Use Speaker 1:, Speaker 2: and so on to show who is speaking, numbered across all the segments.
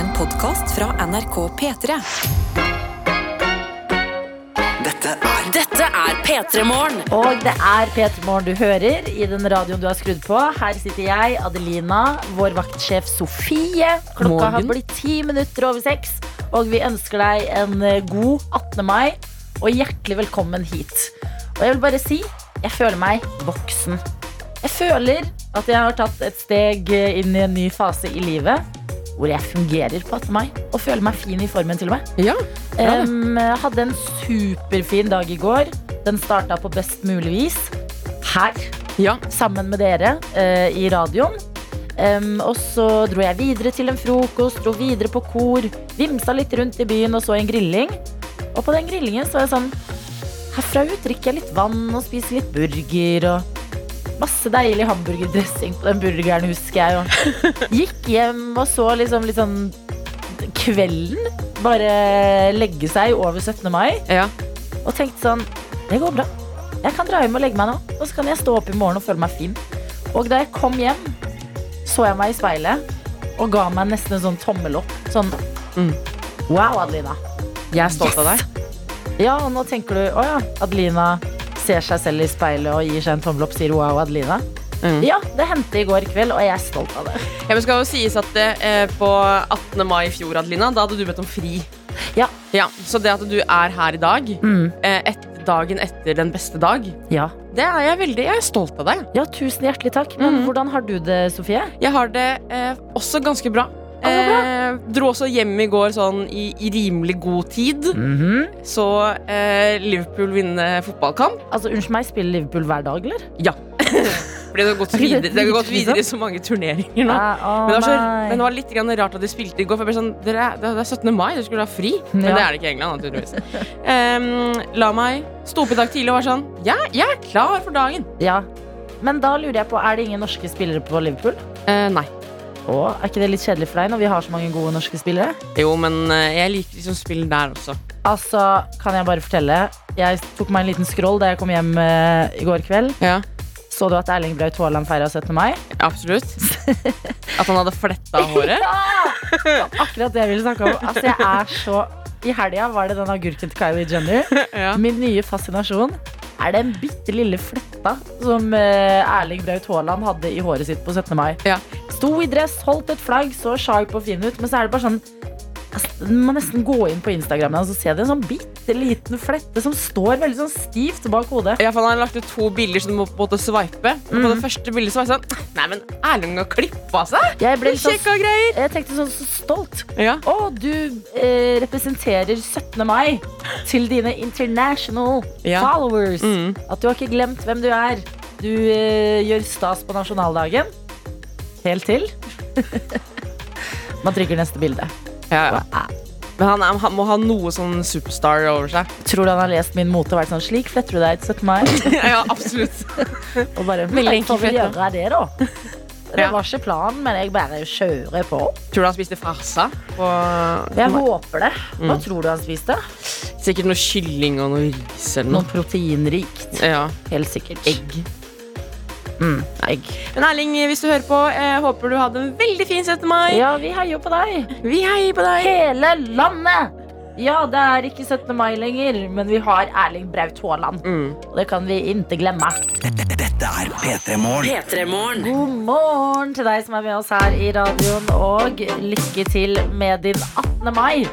Speaker 1: En podkast fra NRK P3.
Speaker 2: Dette er
Speaker 3: Dette er P3 Morgen.
Speaker 4: Og det er P3 Morgen du hører i den radioen du har skrudd på. Her sitter jeg, Adelina, vår vaktsjef Sofie. Klokka har blitt ti minutter over seks, og vi ønsker deg en eh, god 18. mai. Og hjertelig velkommen hit. Og jeg vil bare si jeg føler meg voksen. Jeg føler at jeg har tatt et steg eh, inn i en ny fase i livet. Hvor jeg fungerer på 18. mai og føler meg fin i formen. til og med
Speaker 5: Ja, Bra, det.
Speaker 4: Um, jeg hadde en superfin dag i går. Den starta på best mulig vis her,
Speaker 5: ja.
Speaker 4: sammen med dere eh, i radioen. Um, og så dro jeg videre til en frokost, dro videre på kor, vimsa litt rundt i byen og så en grilling. Og på den grillingen så var jeg sånn Herfra ut drikker jeg litt vann og spiser litt burger og Masse deilig hamburgerdressing på den burgeren, husker jeg. Og gikk hjem og så liksom litt sånn kvelden bare legge seg over 17. mai
Speaker 5: ja.
Speaker 4: og tenkte sånn Det går bra. Jeg kan dra hjem og legge meg nå, og så kan jeg stå opp i morgen og føle meg fin. Og da jeg kom hjem, så jeg meg i speilet og ga meg nesten en sånn tommel opp. Sånn
Speaker 5: Mm.
Speaker 4: Wow, Adelina.
Speaker 5: Jeg er stolt av deg.
Speaker 4: Ja, og nå tenker du Å ja, Adelina ser seg selv i speilet og gir seg en tommel opp, sier wow, Adelina.
Speaker 5: Mm.
Speaker 4: Ja, det hendte i går kveld, og jeg er stolt av det.
Speaker 5: Ja, men skal jo sies at eh, På 18. mai i fjor, Adelina, da hadde du bedt om fri.
Speaker 4: Ja.
Speaker 5: Ja, så det at du er her i dag,
Speaker 4: Mm,
Speaker 5: eh, et, dagen etter den beste dag,
Speaker 4: ja.
Speaker 5: det er jeg veldig Jeg er stolt av deg.
Speaker 4: ja, tusen hjertelig takk. Men
Speaker 5: Mhm.
Speaker 4: hvordan har du det, Sofie?
Speaker 5: Jeg har det eh, også ganske bra.
Speaker 4: så
Speaker 5: Eh, dro også hjem i går sånn i, i rimelig god tid. Så eh, Liverpool vinne fotballkamp.
Speaker 4: Altså, Unnskyld meg, spiller Liverpool hver dag, eller?
Speaker 5: Fordi det liksom? har gått
Speaker 4: Er ikke det
Speaker 5: videre, det har gått
Speaker 4: dritslitsomt?
Speaker 5: videre i så mange turneringer nå.
Speaker 4: Ah, å,
Speaker 5: Men det, var så,
Speaker 4: nei.
Speaker 5: men det var litt grann rart at de spilte i går. For jeg ble sånn, dere, er- det er 17. mai, dere skulle ha fri. Men
Speaker 4: Ja.
Speaker 5: det er det ikke i England, naturligvis. Em, la meg stå opp i dag tidlig og være sånn Ja, jeg er klar for dagen.
Speaker 4: Ja. Men da lurer jeg på, er det ingen norske spillere på Liverpool?
Speaker 5: Eh, nei.
Speaker 4: Åh, er ikke det litt kjedelig for deg når vi har så mange gode norske spillere?
Speaker 5: Jo, men eh, jeg liker liksom spill der også.
Speaker 4: Altså, kan jeg bare fortelle Jeg tok meg en liten scroll da jeg kom hjem eh, i går kveld
Speaker 5: Ja,
Speaker 4: Så du at Erling Braut Haaland feiret 17. mai?
Speaker 5: Absolutt. At han hadde fletta håret.
Speaker 4: Akkurat det jeg ville snakke om Altså, jeg er så I helgen var det den agurken til Kylie Jenner
Speaker 5: Ja.
Speaker 4: Min nye fascinasjon Er den bitte lille fletta Som eh, Erling Braut Haaland hadde i håret sitt på 17. mai
Speaker 5: Ja.
Speaker 4: Sto i dress, holdt et flagg Så sharp og fin ut Men så er det bare sånn altså, du må nesten gå inn på Instagram og se det er en sånn bitte liten flette som står veldig sånn stivt bak hodet.
Speaker 5: Ja, for han har lagt ut to bilder som du må på en måte sveipe. Og
Speaker 4: Mm.
Speaker 5: På det første bildet så var jeg sånn Nei, men Erlend har klippa seg!
Speaker 4: Jeg, ble litt sånn,
Speaker 5: Sjekka greier!
Speaker 4: jeg tenkte sånn så stolt.
Speaker 5: Ja.
Speaker 4: Å, du eh, representerer 17. mai til dine international
Speaker 5: Ja.
Speaker 4: followers.
Speaker 5: Mm.
Speaker 4: At du har ikke glemt hvem du er. Du eh, gjør stas på nasjonaldagen. Helt til. Man trykker neste bilde.
Speaker 5: Ja, ja. Men han, er, han må ha noe sånn superstar over seg.
Speaker 4: Tror du han har lest min mote og vært sånn slik fletter du deg til 17. mai?
Speaker 5: ja, absolutt.
Speaker 4: Og bare
Speaker 5: Veldig
Speaker 4: «Nei, får
Speaker 5: enkelt
Speaker 4: vi
Speaker 5: flett,
Speaker 4: gjøre det, da? Det
Speaker 5: Ja.
Speaker 4: var ikke planen, men jeg bare kjører på.
Speaker 5: Tror du han spiste farsa? På
Speaker 4: Jeg håper det.
Speaker 5: Mm.
Speaker 4: Hva tror du han spiste?
Speaker 5: Sikkert noe kylling og noe ris eller
Speaker 4: Noe
Speaker 5: noe.
Speaker 4: proteinrikt.
Speaker 5: Ja.
Speaker 4: Helt sikkert.
Speaker 5: Mm. Egg.
Speaker 4: Mm, egg.
Speaker 5: Men Erling, hvis du hører på, jeg håper du hadde en veldig fin 17. mai.
Speaker 4: Ja, vi heier på deg.
Speaker 5: Vi heier på deg.
Speaker 4: Hele landet! Ja, det er ikke 17. mai lenger, men vi har Erling Braut Haaland.
Speaker 5: Mm.
Speaker 4: Og det kan vi ikke glemme.
Speaker 2: Dette er P3 Morgen.
Speaker 3: P3 Morgen.
Speaker 4: God morgen til deg som er med oss her i radioen, og lykke til med din 18. mai.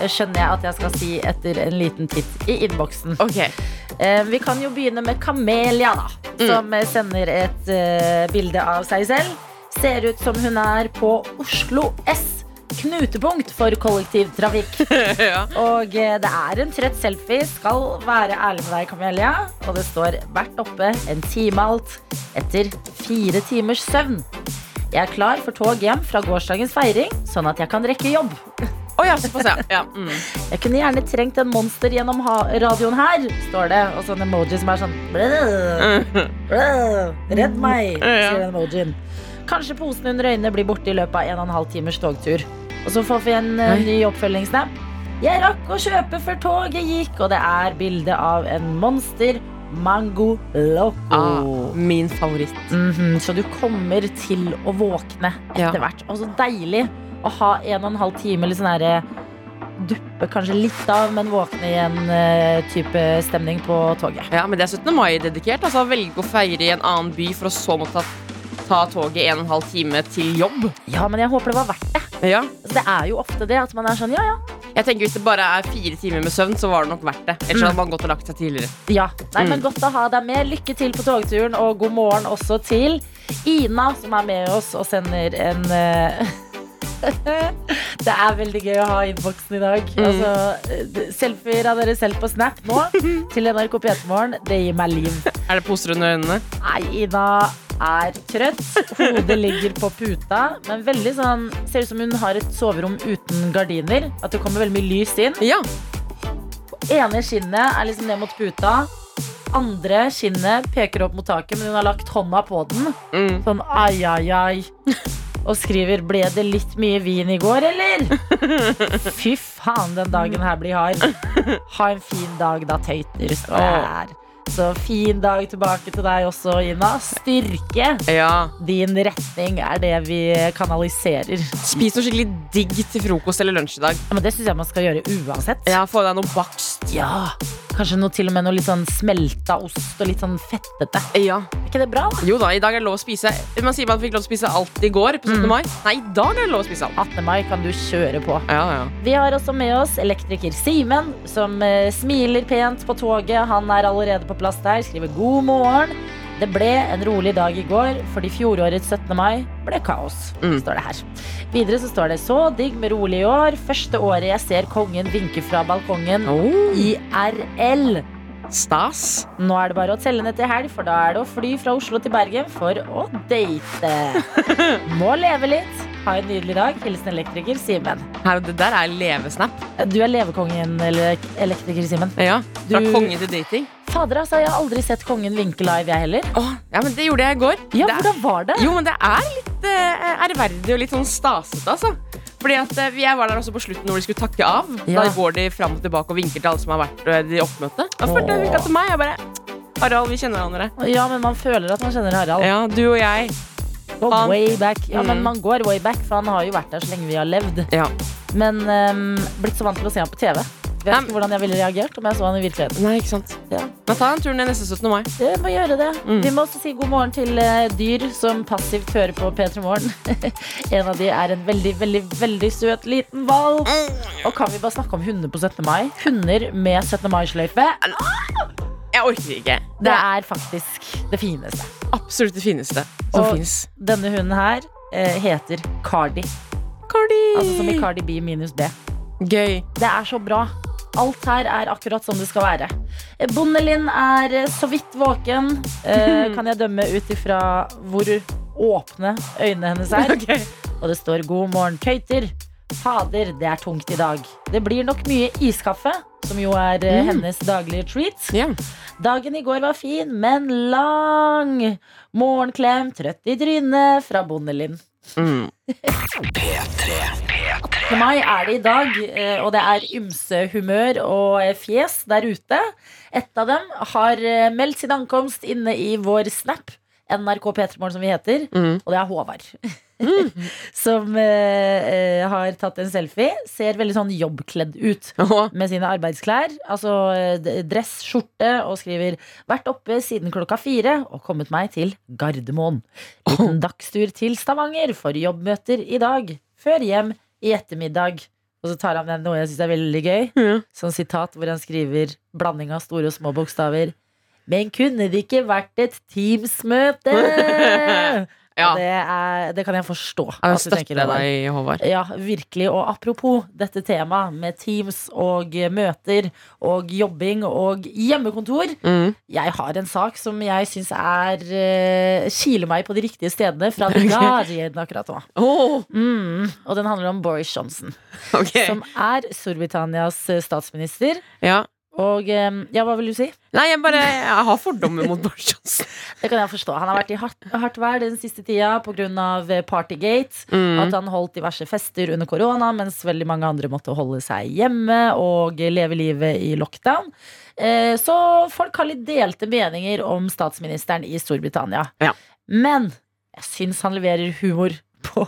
Speaker 4: Det skjønner jeg at jeg skal si etter en liten titt i innboksen.
Speaker 5: Ok.
Speaker 4: Eh, Vi kan jo begynne med Kamelia, da. Som eh, sender et eh, bilde av seg selv. Ser ut som hun er på Oslo S. Knutepunkt for kollektivtrafikk.
Speaker 5: ja.
Speaker 4: Og eh, det er en trøtt selfie. Skal være ærlig med deg, Kamelia. Og det står hvert oppe en time alt etter fire timers søvn. Jeg er klar for tog hjem fra gårsdagens feiring, sånn at jeg kan rekke jobb.
Speaker 5: Å ja, såpass, ja. ja. Mm.
Speaker 4: Jeg kunne gjerne trengt en monster gjennom ha radioen her, står det. Og så en emoji som er sånn «Brød, brød, Redd meg,
Speaker 5: Ja.
Speaker 4: sier den emojien. Kanskje posen under øynene blir borte i løpet av en og en halv timers togtur. Og så får vi en eh,
Speaker 5: Oi.
Speaker 4: ny oppfølgingssnap. Jeg rakk å kjøpe før toget gikk, og det er bilde av en monster mango loco.
Speaker 5: Ah, min favoritt.
Speaker 4: Mhm, så du Mm-hmm. kommer til å våkne
Speaker 5: Ja.
Speaker 4: etter hvert. Og så deilig å ha en og en halv time eller sånn herre duppe kanskje litt av, men våkne igjen-type stemning på toget.
Speaker 5: Ja, men det er 17. mai-dedikert. Altså velge å feire i en annen by for å så måtte ta, ta toget en og en halv time til jobb.
Speaker 4: Ja, men jeg håper det var verdt det.
Speaker 5: Ja.
Speaker 4: Altså, det er jo ofte det at man er sånn ja, ja.
Speaker 5: Jeg tenker Hvis det bare er fire timer med søvn, så var det nok verdt det. Ellers hadde man gått og lagt seg tidligere.
Speaker 4: Ja, Nei,
Speaker 5: Mm.
Speaker 4: men Godt å ha deg med. Lykke til på togturen, og god morgen også til Ina, som er med oss og sender en eh, Det er veldig gøy å ha innboksen i dag. Altså, eh, selfier av dere selv på Snap nå til NRK P3morgen. Det gir meg liv.
Speaker 5: Er det poser under øynene?
Speaker 4: Nei, Ina er trøtt. Hodet ligger på puta. Men veldig sånn Ser ut som hun har et soverom uten gardiner. At det kommer veldig mye lys inn.
Speaker 5: Ja.
Speaker 4: ene skinnet er liksom ned mot puta. Andre skinnet peker opp mot taket, men hun har lagt hånda på den.
Speaker 5: Mm.
Speaker 4: Sånn ai, ai, ai. Og skriver 'Ble det litt mye vin i går, eller?' Fy faen, den dagen her blir hard. Ha en fin dag, da, tøyter. står det her. Så fin dag tilbake til deg også, Ina. Styrke.
Speaker 5: ja.
Speaker 4: Din retning er det vi kanaliserer.
Speaker 5: Spis noe skikkelig digg til frokost eller lunsj i dag.
Speaker 4: Ja, Men det syns jeg man skal gjøre uansett.
Speaker 5: Ja, Få deg noe bakst.
Speaker 4: Ja, kanskje noe til og med noe litt sånn smelta ost og litt sånn fettete.
Speaker 5: Ja.
Speaker 4: Er ikke det bra, da?
Speaker 5: Jo da, i dag er det lov å spise Man sier man fikk lov å spise alt i går på 17. mai. Nei, i dag er det lov å spise alt.
Speaker 4: 18. mai kan du kjøre på.
Speaker 5: Ja, ja.
Speaker 4: Vi har også med oss elektriker Simen, som eh, smiler pent på toget. Han er allerede på plass der, skriver god morgen. Det ble en rolig dag i går, fordi fjorårets 17. mai ble kaos,
Speaker 5: Mm.
Speaker 4: står det her. Videre så står det så digg med rolig i år. Første året jeg ser kongen vinke fra balkongen IRL.
Speaker 5: Oh, Stas.
Speaker 4: Nå er det bare å telle ned til helg, for da er det å fly fra Oslo til Bergen for å date. Må leve litt. Ha en nydelig dag. Hilsen elektriker Simen.
Speaker 5: Her, det der er levesnap.
Speaker 4: Du er levekongen, eller elektriker Simen.
Speaker 5: Ja. Fra
Speaker 4: Du-
Speaker 5: konge til dating.
Speaker 4: Fader, altså, jeg har aldri sett kongen vinke live, jeg heller.
Speaker 5: Åh, ja, men det gjorde jeg i går.
Speaker 4: Ja,
Speaker 5: det er,
Speaker 4: hvordan var det?
Speaker 5: jo, men det er litt eh, ærverdig og litt sånn stasete, altså. Fordi at eh, Jeg var der også på slutten når de skulle takke av.
Speaker 4: Ja.
Speaker 5: Da går de fram og tilbake og vinker til alle som har vært eh, i oppmøte. Da følte jeg virka til meg. Jeg bare Harald, vi kjenner hverandre.
Speaker 4: Ja, men man føler at man kjenner Harald.
Speaker 5: Ja, du og jeg.
Speaker 4: Go
Speaker 5: han-
Speaker 4: way back. Ja, men
Speaker 5: Mm.
Speaker 4: man går way back, for han har jo vært der så lenge vi har levd.
Speaker 5: Ja.
Speaker 4: Men ehm, blitt så vant til å se han på TV. Vet
Speaker 5: Nei, men-
Speaker 4: ikke hvordan jeg ville reagert om jeg så han i virkeligheten.
Speaker 5: Nei, ikke sant.
Speaker 4: Ja.
Speaker 5: Men ta en tur ned neste 17. mai.
Speaker 4: Det må gjøre det.
Speaker 5: Mm.
Speaker 4: Vi må også si god morgen til eh, dyr som passivt hører på P3 Morgen. en av de er en veldig, veldig, veldig søt liten hval. Og kan vi bare snakke om hunder på 17. mai? Hunder med 17. mai-sløyfe.
Speaker 5: Jeg orker ikke.
Speaker 4: Det er faktisk det fineste.
Speaker 5: Absolutt det fineste som
Speaker 4: Og-
Speaker 5: fins.
Speaker 4: Denne hunden her eh, heter Cardi.
Speaker 5: Cardi.
Speaker 4: Altså som i Cardi B minus B.
Speaker 5: Gøy.
Speaker 4: Det er så bra. Alt her er akkurat som det skal være. Eh, Bondelin er eh, så vidt våken, eh, kan jeg dømme ut ifra hvor åpne øynene hennes er.
Speaker 5: Ok.
Speaker 4: Og det står 'God morgen, tøyter'. Fader, det er tungt i dag. Det blir nok mye iskaffe, som jo er eh, hennes daglige treat.
Speaker 5: Ja.
Speaker 4: Dagen i går var fin, men lang. Morgenklem, trøtt i trynet, fra Bondelin.
Speaker 5: Mm.
Speaker 4: 18. mai er det i dag, eh, og det er ymse humør og eh, fjes der ute. Et av dem har eh, meldt sin ankomst inne i vår snap, NRK P3morgen som vi heter,
Speaker 5: Mm.
Speaker 4: og det er Håvard. som eh, eh, har tatt en selfie. Ser veldig sånn jobbkledd ut.
Speaker 5: Åh,
Speaker 4: Med sine arbeidsklær, altså eh, d- dress, skjorte, og skriver 'Vært oppe siden klokka fire og kommet meg til Gardermoen'. Liten dagstur til Stavanger for jobbmøter i dag. Før hjem i ettermiddag. Og så tar han med noe jeg syns er veldig gøy.
Speaker 5: Ja.
Speaker 4: Sånn sitat hvor han skriver blanding av store og små bokstaver. Men kunne det ikke vært et Teams-møte?
Speaker 5: ja.
Speaker 4: Og det, er, det kan jeg forstå.
Speaker 5: Jeg
Speaker 4: at du tenker
Speaker 5: støtter
Speaker 4: over.
Speaker 5: deg, Håvard.
Speaker 4: Ja, virkelig. Og apropos dette temaet med Teams og møter og jobbing og hjemmekontor.
Speaker 5: Mm.
Speaker 4: Jeg har en sak som jeg syns er eh, kiler meg på de riktige stedene fra The Guardian akkurat nå.
Speaker 5: Åh,
Speaker 4: Mm. Og den handler om Boris Johnson,
Speaker 5: ok.
Speaker 4: som er Storbritannias eh, statsminister.
Speaker 5: Ja.
Speaker 4: Og eh, ja, hva vil du si?
Speaker 5: Nei, jeg bare jeg har fordommer mot Boris Johnson.
Speaker 4: Det kan jeg forstå. Han har vært i hardt, hardt vær den siste tida pga. eh, Partygate.
Speaker 5: Mm.
Speaker 4: At han holdt diverse fester under korona, mens veldig mange andre måtte holde seg hjemme og leve livet i lockdown. Eh, Så folk har litt delte meninger om statsministeren i Storbritannia.
Speaker 5: Ja.
Speaker 4: Men jeg syns han leverer humor på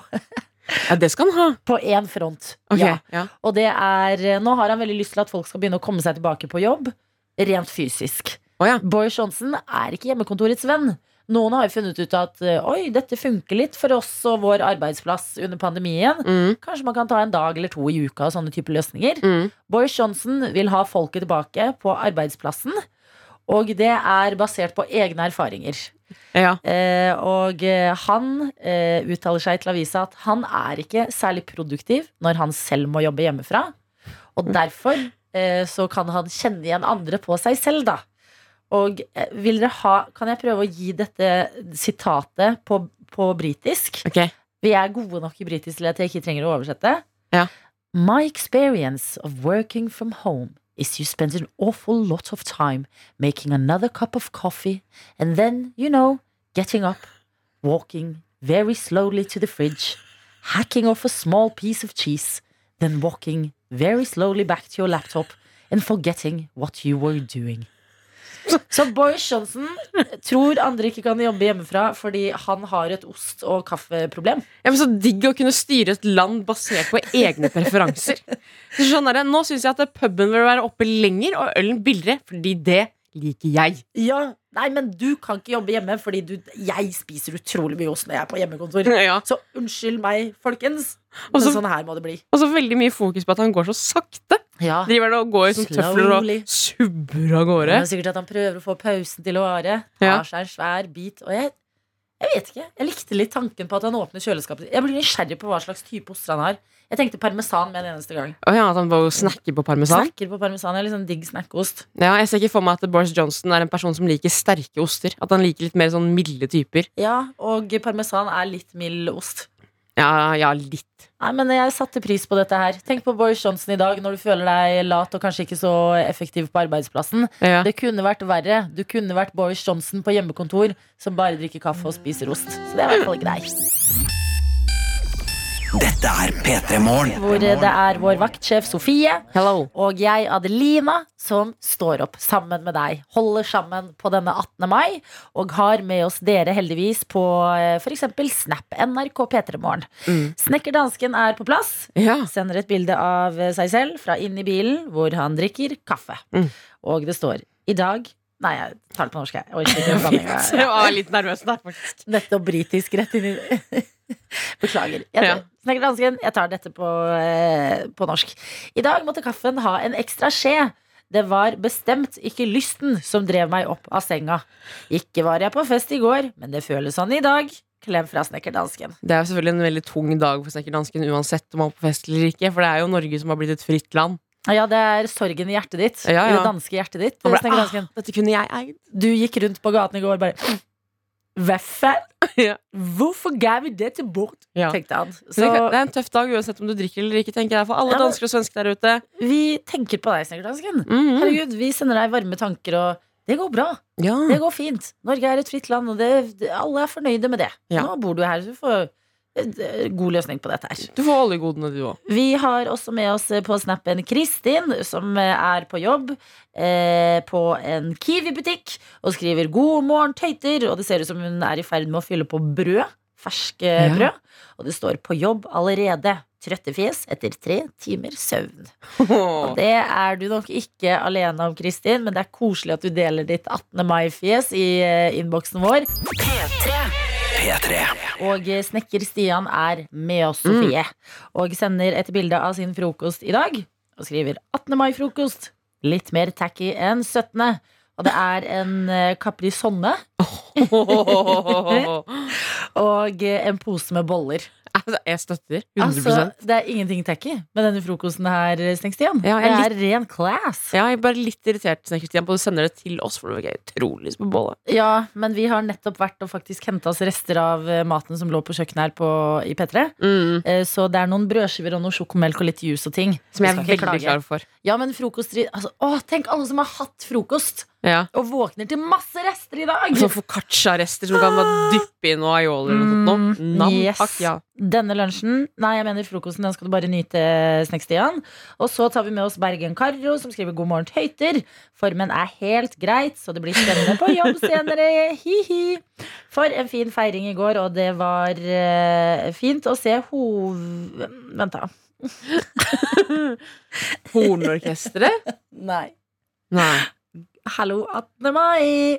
Speaker 5: Ja, det skal han ha.
Speaker 4: På én front.
Speaker 5: Ok,
Speaker 4: Ja.
Speaker 5: ja.
Speaker 4: Og det er eh, Nå har han veldig lyst til at folk skal begynne å komme seg tilbake på jobb. Rent fysisk.
Speaker 5: Å ja.
Speaker 4: Boris Johnson er ikke hjemmekontorets venn. Noen har jo funnet ut at eh, oi, dette funker litt for oss og vår arbeidsplass under pandemien.
Speaker 5: Mm,
Speaker 4: Kanskje man kan ta en dag eller to i uka og sånne typer løsninger.
Speaker 5: mm.
Speaker 4: Boris Johnson vil ha folket tilbake på arbeidsplassen. Og det er basert på egne erfaringer.
Speaker 5: Ja.
Speaker 4: Eh, og eh, han eh, uttaler seg til avisa at han er ikke særlig produktiv når han selv må jobbe hjemmefra. Og derfor eh, så kan han kjenne igjen andre på seg selv, da. Og eh, vil dere ha Kan jeg prøve å gi dette sitatet på, på britisk?
Speaker 5: Ok.
Speaker 4: Vi er gode nok i britisk til at jeg ikke trenger å oversette.
Speaker 5: Ja.
Speaker 4: My experience of working from home is you spend an awful lot of time making another cup of coffee and then, you know, getting up, walking very slowly to the fridge, hacking off a small piece of cheese, then walking very slowly back to your laptop and forgetting what you were doing. Så Boris Johnson tror andre ikke kan jobbe hjemmefra fordi han har et ost- og kaffeproblem.
Speaker 5: Ja, men Så digg å kunne styre et land basert på egne preferanser. Så sånn er det. Nå syns jeg at puben vil være oppe lenger og ølen billigere, fordi det liker jeg.
Speaker 4: Ja, nei, men du kan ikke jobbe hjemme Fordi du, jeg spiser utrolig mye ost når jeg er på hjemmekontor
Speaker 5: Ja.
Speaker 4: Så unnskyld meg, folkens
Speaker 5: Og
Speaker 4: Men
Speaker 5: så-
Speaker 4: sånn her må det bli
Speaker 5: Og så veldig mye fokus på at han går så sakte.
Speaker 4: Ja,
Speaker 5: Driver han og går i sånn tøfler og
Speaker 4: Slowly.
Speaker 5: subber av gårde.
Speaker 4: men sikkert at han prøver å få pausen til å vare Tar
Speaker 5: Ja.
Speaker 4: seg en svær bit Og jeg, jeg vet ikke, jeg likte litt tanken på at han åpner kjøleskapet Jeg blir nysgjerrig på hva slags type ost han har Jeg tenkte parmesan med en eneste gang
Speaker 5: Å ja, At han bare snakker på parmesan?
Speaker 4: Snakker på parmesan, jeg er litt sånn digg snackost
Speaker 5: Ja, Jeg ser ikke for meg at Boris Johnson er en person som liker sterke oster. At han liker litt mer sånn milde typer.
Speaker 4: Ja, og parmesan er litt mild ost
Speaker 5: Ja, ja, litt.
Speaker 4: Nei, men jeg satte pris på dette her. Tenk på Boris Johnson i dag, når du føler deg lat og kanskje ikke så effektiv på arbeidsplassen.
Speaker 5: Ja.
Speaker 4: Det kunne vært verre. Du kunne vært Boris Johnson på hjemmekontor som bare drikker kaffe og spiser ost. Så det er i hvert fall greit.
Speaker 2: Dette er P3 Morgen.
Speaker 4: Hvor eh, det er vår vaktsjef Sofie
Speaker 5: Hello.
Speaker 4: og jeg, Adelina, som står opp sammen med deg. Holder sammen på denne 18. mai og har med oss dere heldigvis på f.eks. Snap NRK P3morgen. Snekker dansken er på plass.
Speaker 5: Mm. Ja.
Speaker 4: Sender et bilde av eh, seg selv fra inn i bilen hvor han drikker kaffe.
Speaker 5: Mm.
Speaker 4: Og det står i dag Nei, jeg tar det på norsk, jeg. jeg. orker ikke å blande meg.
Speaker 5: Så jeg var litt nervøs der, faktisk.
Speaker 4: Nettopp britisk rett inn i Beklager. Jeg
Speaker 5: Ja.
Speaker 4: snakker dansken. Jeg tar dette på, eh, på norsk. I dag måtte kaffen ha en ekstra skje. Det var bestemt ikke lysten som drev meg opp av senga. Ikke var jeg på fest i går, men det føles sånn i dag. Klem fra snekker dansken.
Speaker 5: Det er jo selvfølgelig en veldig tung dag for snekkerdansken uansett om han er på fest eller ikke, for det er jo Norge som har blitt et fritt land.
Speaker 4: Ja, det er sorgen i hjertet ditt.
Speaker 5: Ja,
Speaker 4: I
Speaker 5: ja.
Speaker 4: det danske hjertet ditt.
Speaker 5: Han
Speaker 4: snekker
Speaker 5: bare,
Speaker 4: dansken.
Speaker 5: ah, dette kunne jeg eid.
Speaker 4: Du gikk rundt på gaten i går bare Hvorfor?
Speaker 5: Ja.
Speaker 4: Hvorfor ga vi det til bort?
Speaker 5: Ja.
Speaker 4: tenkte han.
Speaker 5: Men
Speaker 4: Så
Speaker 5: det, det er en tøff dag uansett om du drikker eller ikke, tenker jeg, for alle
Speaker 4: Ja, men-
Speaker 5: dansker og svensker der ute.
Speaker 4: vi tenker på deg, snekker dansken.
Speaker 5: Mhm.
Speaker 4: Herregud, vi sender deg varme tanker og det går bra.
Speaker 5: Ja.
Speaker 4: Det går fint. Norge er et fritt land, og det, det, alle er fornøyde med det.
Speaker 5: Ja.
Speaker 4: Nå bor du her, så du får eh, god løsning på dette her.
Speaker 5: Du får oljegodene, du òg.
Speaker 4: Vi har også med oss eh, på snappen Kristin, som eh, er på jobb eh, på en Kiwi-butikk og skriver 'God morgen, tøyter', og det ser ut som hun er i ferd med å fylle på brød. Ferske
Speaker 5: Ja.
Speaker 4: brød. Og det står 'på jobb allerede'. Trøttefjes etter tre timer søvn. Og det er du nok ikke alene om, Kristin, men det er koselig at du deler ditt 18. mai-fjes i eh, innboksen vår.
Speaker 2: P3.
Speaker 4: Og eh, snekker Stian er med oss, Sofie, og sender et bilde av sin frokost i dag. Og skriver 18. mai-frokost. Litt mer tacky enn 17. Og det er en eh, caprisonne og eh, en pose med boller.
Speaker 5: Altså, jeg støtter. 100
Speaker 4: Altså, det er ingenting tacky med denne frokosten her, eh, Snekk-Stian.
Speaker 5: Ja,
Speaker 4: det
Speaker 5: jeg
Speaker 4: er ren class.
Speaker 5: Ja, jeg er bare litt irritert Snekker-Stian, på at du sender det til oss, for du er utrolig på bolle.
Speaker 4: Ja, men vi har nettopp vært og faktisk henta oss rester av eh, maten som lå på kjøkkenet her på, i P3. Eh, Så det er noen brødskiver og noe sjokomelk og litt juice og ting.
Speaker 5: Som jeg er
Speaker 4: Vi skal
Speaker 5: veldig
Speaker 4: ikke klage.
Speaker 5: klar for.
Speaker 4: Ja, men frokost altså, Å, tenk alle som har hatt frokost!
Speaker 5: Ja.
Speaker 4: Og våkner til masse rester i dag!
Speaker 5: Sånn foccaccia-rester som kan bare dyppe i noe aioli eller noe sånt. nå.
Speaker 4: Mm,
Speaker 5: Nam,
Speaker 4: yes.
Speaker 5: takk, ja.
Speaker 4: Denne lunsjen, nei, jeg mener frokosten, den skal du bare nyte, Snekkstian. Og så tar vi med oss Bergen Karro, som skriver 'God morgen, tøyter'. Formen er helt greit, så det blir spennende på jobb senere. Hi-hi. For en fin feiring i går, og det var eh, fint å se hov... Vent, da.
Speaker 5: Hornorkesteret?
Speaker 4: Nei.
Speaker 5: Nei.
Speaker 4: Hallo, 18. mai!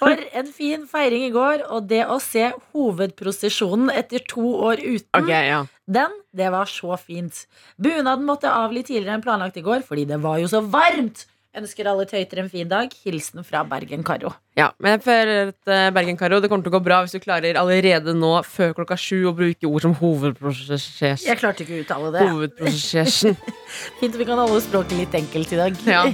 Speaker 4: For en fin feiring i går, og det å se hovedprosesjonen etter to år uten
Speaker 5: Ok, ja.
Speaker 4: Den, det var så fint. Bunaden måtte av litt tidligere enn planlagt i går, fordi det var jo så varmt! Ønsker alle tøyter en fin dag. Hilsen fra Bergen-Karo.
Speaker 5: Ja, men jeg føler at eh, Bergen Karo, det kommer til å gå bra hvis du klarer allerede nå før klokka sju å bruke ord som hovedprosess.
Speaker 4: Jeg klarte ikke å uttale det.
Speaker 5: Hovedprosessen.
Speaker 4: Fint vi kan holde språket litt enkelt i dag.
Speaker 5: Ja.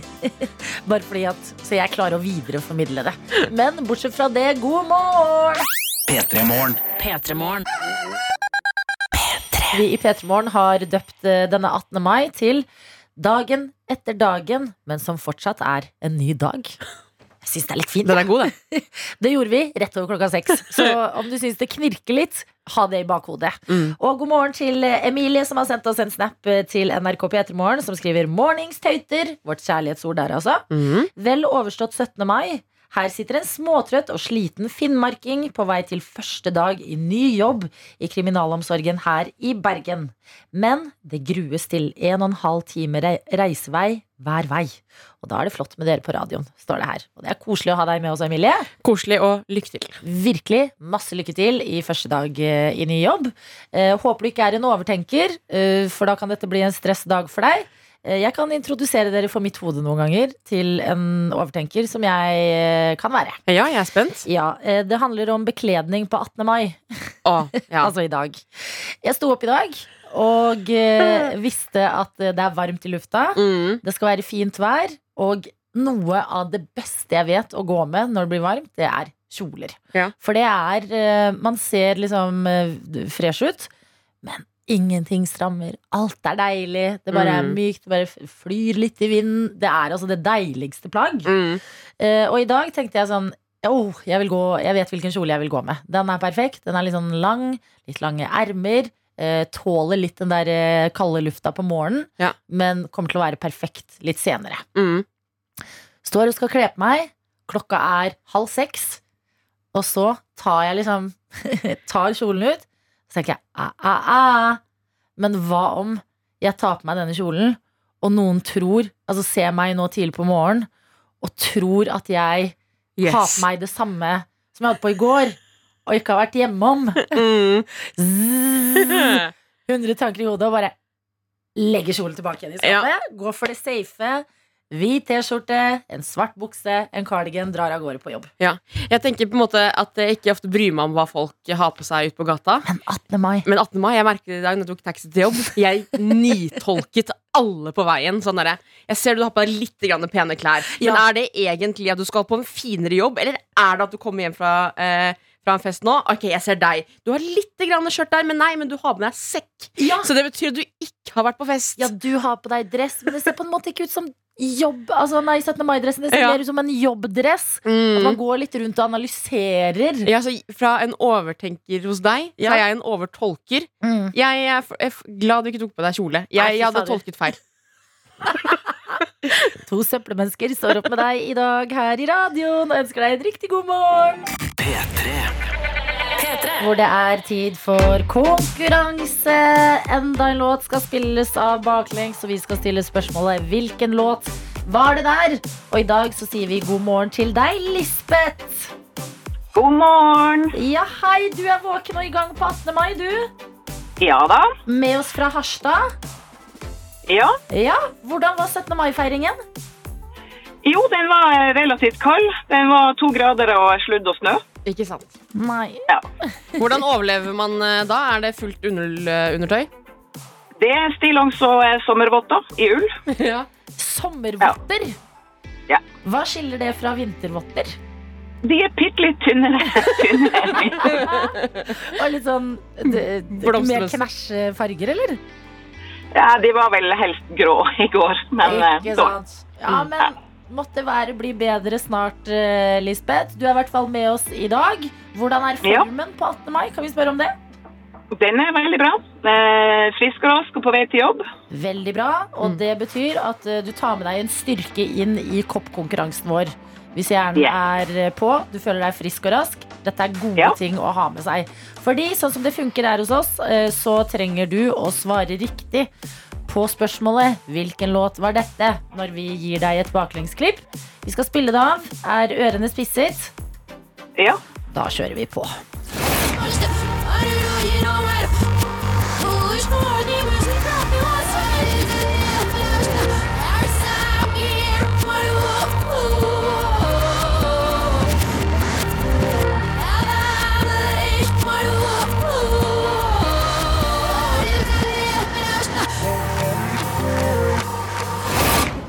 Speaker 4: Bare fordi at, Så jeg klarer å videreformidle det. Men bortsett fra det, god morgen!
Speaker 2: P3 Morgen.
Speaker 3: P3morgen.
Speaker 4: Vi i P3 Morgen har døpt eh, denne 18. mai til Dagen etter dagen, men som fortsatt er en ny dag. Jeg syns det er litt fint.
Speaker 5: Den er god, den.
Speaker 4: Det gjorde vi rett over klokka seks. Så om du syns det knirker litt, ha det i bakhodet.
Speaker 5: Mm.
Speaker 4: Og god morgen til eh, Emilie, som har sendt oss en snap eh, til NRK P3morgen, som skriver 'Mornings tøyter'. Vårt kjærlighetsord der, altså.
Speaker 5: Mhm.
Speaker 4: Vel overstått 17. mai. Her sitter en småtrøtt og sliten finnmarking på vei til første dag i ny jobb i kriminalomsorgen her i Bergen. Men det grues til en og en halv time rei- reisevei hver vei. Og da er det flott med dere på radioen, står det her. Og det er koselig å ha deg med oss, Emilie.
Speaker 5: Koselig og lykke til.
Speaker 4: Virkelig masse lykke til i første dag eh, i ny jobb. Eh, håper du ikke er en overtenker, eh, for da kan dette bli en stressdag for deg. Eh, jeg kan introdusere dere for mitt hode noen ganger til en overtenker som jeg eh, kan være.
Speaker 5: Ja, jeg er spent.
Speaker 4: Ja, eh, Det handler om bekledning på 18. mai,
Speaker 5: Å, ja.
Speaker 4: altså i dag. Jeg sto opp i dag og eh, visste at eh, det er varmt i lufta.
Speaker 5: Mhm.
Speaker 4: Det skal være fint vær, og noe av det beste jeg vet å gå med når det blir varmt, det er kjoler.
Speaker 5: Ja.
Speaker 4: For det er eh, Man ser liksom eh, fresh ut, men ingenting strammer. Alt er deilig. Det bare er
Speaker 5: Mm.
Speaker 4: mykt, det bare f- flyr litt i vinden. Det er altså det deiligste plagg.
Speaker 5: Mhm.
Speaker 4: Eh, og i dag tenkte jeg sånn «Åh, jeg, vil gå, jeg vet hvilken kjole jeg vil gå med. Den er perfekt. Den er litt sånn lang, litt lange ermer. eh, tåler litt den der eh, kalde lufta på morgenen,
Speaker 5: Ja.
Speaker 4: men kommer til å være perfekt litt senere.
Speaker 5: Mhm.
Speaker 4: Står og skal kle på meg. Klokka er halv seks. Og så tar jeg liksom Tar kjolen ut. Så tenker jeg æ, æ, æ. Men hva om jeg tar på meg denne kjolen, og noen tror Altså ser meg nå tidlig på morgenen og tror at jeg
Speaker 5: Yes.
Speaker 4: har på meg det samme som jeg hadde på i går, og ikke har vært hjemme om.
Speaker 5: Mhm.
Speaker 4: Zzz. 100 tanker i hodet og bare legger kjolen tilbake igjen i skapet. Gå for det safe. Hvit T-skjorte, en svart bukse, en cardigan, drar av gårde på jobb.
Speaker 5: Jeg tenker på en måte at jeg ikke ofte bryr meg om hva folk har på seg ute på gata.
Speaker 4: Men 18. mai.
Speaker 5: Men 18. mai, jeg merket det i dag når jeg tok taxi til jobb. Jeg nitolket alle på veien. Sånn derre, jeg ser du har på deg litt grann pene klær, men
Speaker 4: Ja.
Speaker 5: er det egentlig at du skal på en finere jobb, eller er det at du kommer hjem fra, eh, fra en fest nå? Ok, jeg ser deg. Du har litt grann skjørt der, men nei, men du har med deg sekk.
Speaker 4: Ja.
Speaker 5: Så det betyr at du ikke har vært på fest.
Speaker 4: ja, du har på deg dress, men det ser på en måte ikke ut som jobb. Altså, nei, 17. mai-dressen. Det ser
Speaker 5: Ja.
Speaker 4: mer ut som en jobbdress. At
Speaker 5: Mm.
Speaker 4: man går litt rundt og analyserer.
Speaker 5: Ja, så fra en overtenker hos deg, så
Speaker 4: Ja.
Speaker 5: er jeg en overtolker.
Speaker 4: Mm.
Speaker 5: Jeg er f- jeg er f- glad du ikke tok på deg kjole. Jeg,
Speaker 4: Nei, fy
Speaker 5: jeg hadde
Speaker 4: fader.
Speaker 5: tolket feil.
Speaker 4: To søppelmennesker står opp med deg i dag her i radioen og ønsker deg en riktig god morgen.
Speaker 3: P3.
Speaker 4: Hvor det er tid for konkurranse. Enda en låt skal spilles av baklengs, og vi skal stille spørsmålet hvilken låt var det der? Og i dag så sier vi god morgen til deg, Lisbeth.
Speaker 6: God morgen.
Speaker 4: Ja, hei, du er våken og i gang på 18. mai, du.
Speaker 6: Ja da.
Speaker 4: Med oss fra Harstad.
Speaker 6: Ja.
Speaker 4: Ja, hvordan var 17. mai-feiringen?
Speaker 6: Jo, den var eh, relativt kald. Den var to grader og sludd og snø.
Speaker 5: Ikke sant.
Speaker 4: Nei.
Speaker 5: Hvordan overlever man eh, da? Er det fullt under, undertøy?
Speaker 6: Det er stillongs og eh, sommervotter i ull.
Speaker 5: Ja.
Speaker 4: Sommervotter.
Speaker 6: Ja.
Speaker 4: Hva skiller det fra vintervotter?
Speaker 6: De er bitte litt tynnere. tynnere enn mine.
Speaker 4: Og litt sånn d- d-
Speaker 5: Blomstrøs.
Speaker 4: mer knæsje farger, eller?
Speaker 6: ja, de var vel helst grå i går, men eh, Mm,
Speaker 4: Ikke
Speaker 6: så.
Speaker 4: sant. Ja, men Måtte været bli bedre snart, eh, Lisbeth. Du er i hvert fall med oss i dag. Hvordan er
Speaker 6: Ja.
Speaker 4: formen på 18. mai? Kan vi spørre om det?
Speaker 6: Den er veldig bra. Eh, frisk og rask og på vei til jobb.
Speaker 4: Veldig bra. Og det betyr at eh, du tar med deg en styrke inn i koppkonkurransen vår. Hvis hjernen
Speaker 6: Ja.
Speaker 4: er eh, på, du føler deg frisk og rask. Dette er gode
Speaker 6: Ja.
Speaker 4: ting å ha med seg. Fordi sånn som det funker her hos oss, eh, så trenger du å svare riktig på spørsmålet 'Hvilken låt var dette?' når vi gir deg et baklengsklipp. Vi skal spille det av. Er ørene spisset?
Speaker 6: Ja.
Speaker 4: Da kjører vi på.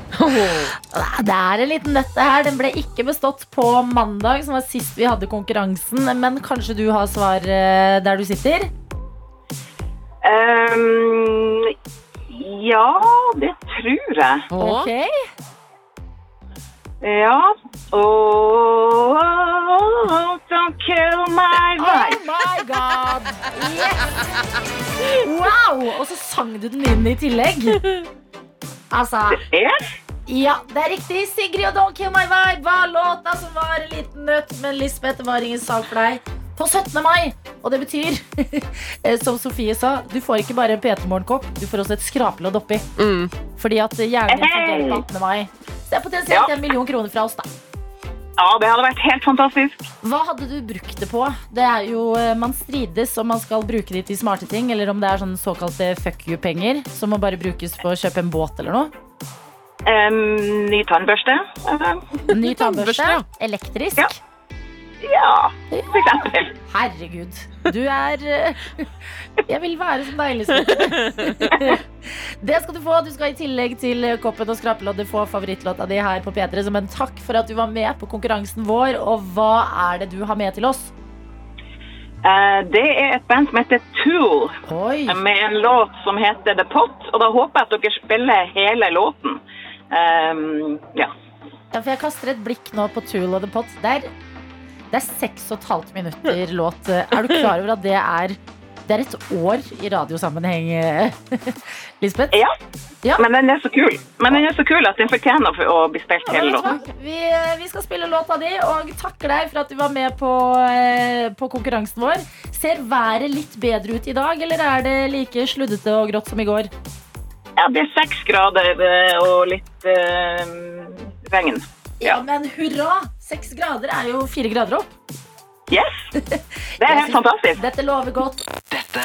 Speaker 4: Det er en liten dette her. Den ble ikke bestått på mandag, som var sist vi hadde konkurransen. Men kanskje du har svar eh, der du sitter?
Speaker 6: Ehm, ja, det tror jeg.
Speaker 5: Åh.
Speaker 4: Ok.
Speaker 6: Ja. Oh, don't kill my
Speaker 4: Oh
Speaker 6: vibe.
Speaker 4: my god! Yes! Wow! Og så sang du den inn i tillegg. Altså
Speaker 6: Ja.
Speaker 4: Ja, det er riktig. Sigrid og Don't Kill My Vibe var låta som var en liten nøtt, men Lisbeth, det var ingen sak for deg. På 17. mai. Og det betyr, eh, som Sofie sa, du får ikke bare en PT-morgenkopp, du får også et skrapelodd oppi.
Speaker 5: Mm.
Speaker 4: Fordi at eh, hjernen din fungerer
Speaker 6: Hey!
Speaker 4: på 18. mai. Så det er potensielt
Speaker 6: Ja.
Speaker 4: en million kroner fra oss, da.
Speaker 6: ja, det hadde vært helt fantastisk.
Speaker 4: Hva hadde du brukt det på? Det er jo, eh, Man strides om man skal bruke det til smarte ting, eller om det er sånne såkalte fuck you-penger som må bare brukes på å kjøpe en båt eller noe.
Speaker 6: Ehm, ny tannbørste. Ehm,
Speaker 4: Ny
Speaker 5: Tannbørste,
Speaker 4: tannbørste.
Speaker 5: ja.
Speaker 4: Elektrisk.
Speaker 6: Ja. ja, for eksempel.
Speaker 4: Herregud. Du er eh, Jeg vil være som deg, liksom. Det skal du få. Du skal i tillegg til koppen og skrapeloddet få favorittlåta di her på P3 som en takk for at du var med på konkurransen vår. Og hva er det du har med til oss?
Speaker 6: Eh, det er et band som heter Tool,
Speaker 4: Oi.
Speaker 6: med en låt som heter The Pot. Og da håper jeg at dere spiller hele låten. Ehm, ja.
Speaker 4: Ja, for jeg kaster et blikk nå på Tool of the Pot. Det er, det er seks og et halvt minutter låt. Er du klar over at det er Det er et år i radiosammenheng, eh, Lisbeth?
Speaker 6: ja.
Speaker 4: Ja.
Speaker 6: Men den er så kul Men den er så kul at den fortjener for å bli spilt hele
Speaker 4: Vet du hva?
Speaker 6: låten.
Speaker 4: Vi, vi skal spille låta di og takker deg for at du var med på, eh, på konkurransen vår. Ser været litt bedre ut i dag, eller er det like sluddete og grått som i går?
Speaker 6: Ja, det er seks grader eh, og litt ehm, regn.
Speaker 4: Ja,
Speaker 6: Ja.
Speaker 4: men hurra! Seks grader er jo fire grader opp.
Speaker 6: Yes! Det er helt fantastisk.
Speaker 4: Dette lover godt.
Speaker 2: Dette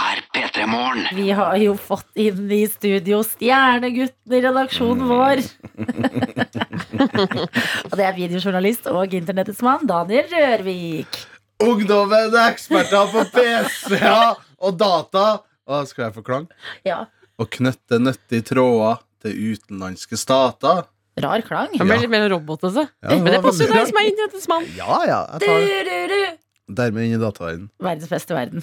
Speaker 2: er P3 Morgen.
Speaker 4: Vi har jo fått inn i studio Stjernegutten i redaksjonen
Speaker 2: Mm.
Speaker 4: vår. og det er videojournalist og internettets mann Daniel Rørvik.
Speaker 7: Ungdommen er eksperter på PC-er og data. Hva skal jeg få klang?
Speaker 4: Ja,
Speaker 7: Å knytte nyttige tråder til utenlandske stater.
Speaker 4: rar klang.
Speaker 5: Han ble
Speaker 7: Ja.
Speaker 5: litt mer robot også.
Speaker 7: Ja, det
Speaker 5: Men det
Speaker 7: var
Speaker 5: passer jo
Speaker 7: veldig
Speaker 5: deg som er indianens mann.
Speaker 7: Ja, ja, jeg tar det.
Speaker 4: Du-du-du.
Speaker 7: dermed inn i dataverdenen.
Speaker 4: Verdens beste verden.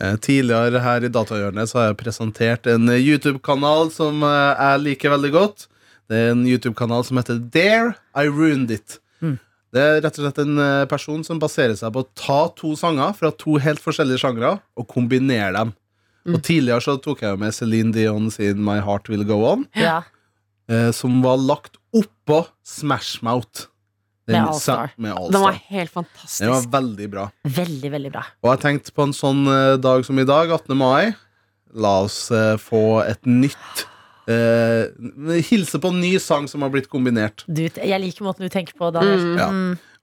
Speaker 7: Eh, Tidligere her i Datahjørnet så har jeg presentert en eh, YouTube-kanal som eh, jeg liker veldig godt. Det er en YouTube-kanal som heter Dare I Ruined It.
Speaker 5: Mm.
Speaker 7: Det er rett og slett en eh, person som baserer seg på å ta to sanger fra to helt forskjellige sjangre og kombinere dem.
Speaker 5: Mm.
Speaker 7: Og Tidligere så tok jeg jo med Celine Dion sin My Heart Will Go On,
Speaker 4: Ja.
Speaker 7: eh, som var lagt oppå Smash Mouth. Den
Speaker 4: Med All Star.
Speaker 7: sa- Med All
Speaker 5: Den var
Speaker 7: Star.
Speaker 5: helt
Speaker 7: Den var
Speaker 5: fantastisk.
Speaker 7: veldig bra.
Speaker 4: Veldig, veldig bra.
Speaker 7: Og jeg tenkte på en sånn eh, dag som i dag, 18. mai. La oss eh, få et nytt eh, Hilse på en ny sang som har blitt kombinert.
Speaker 4: Du, jeg liker måten du tenker på, Daniel.
Speaker 7: Ja.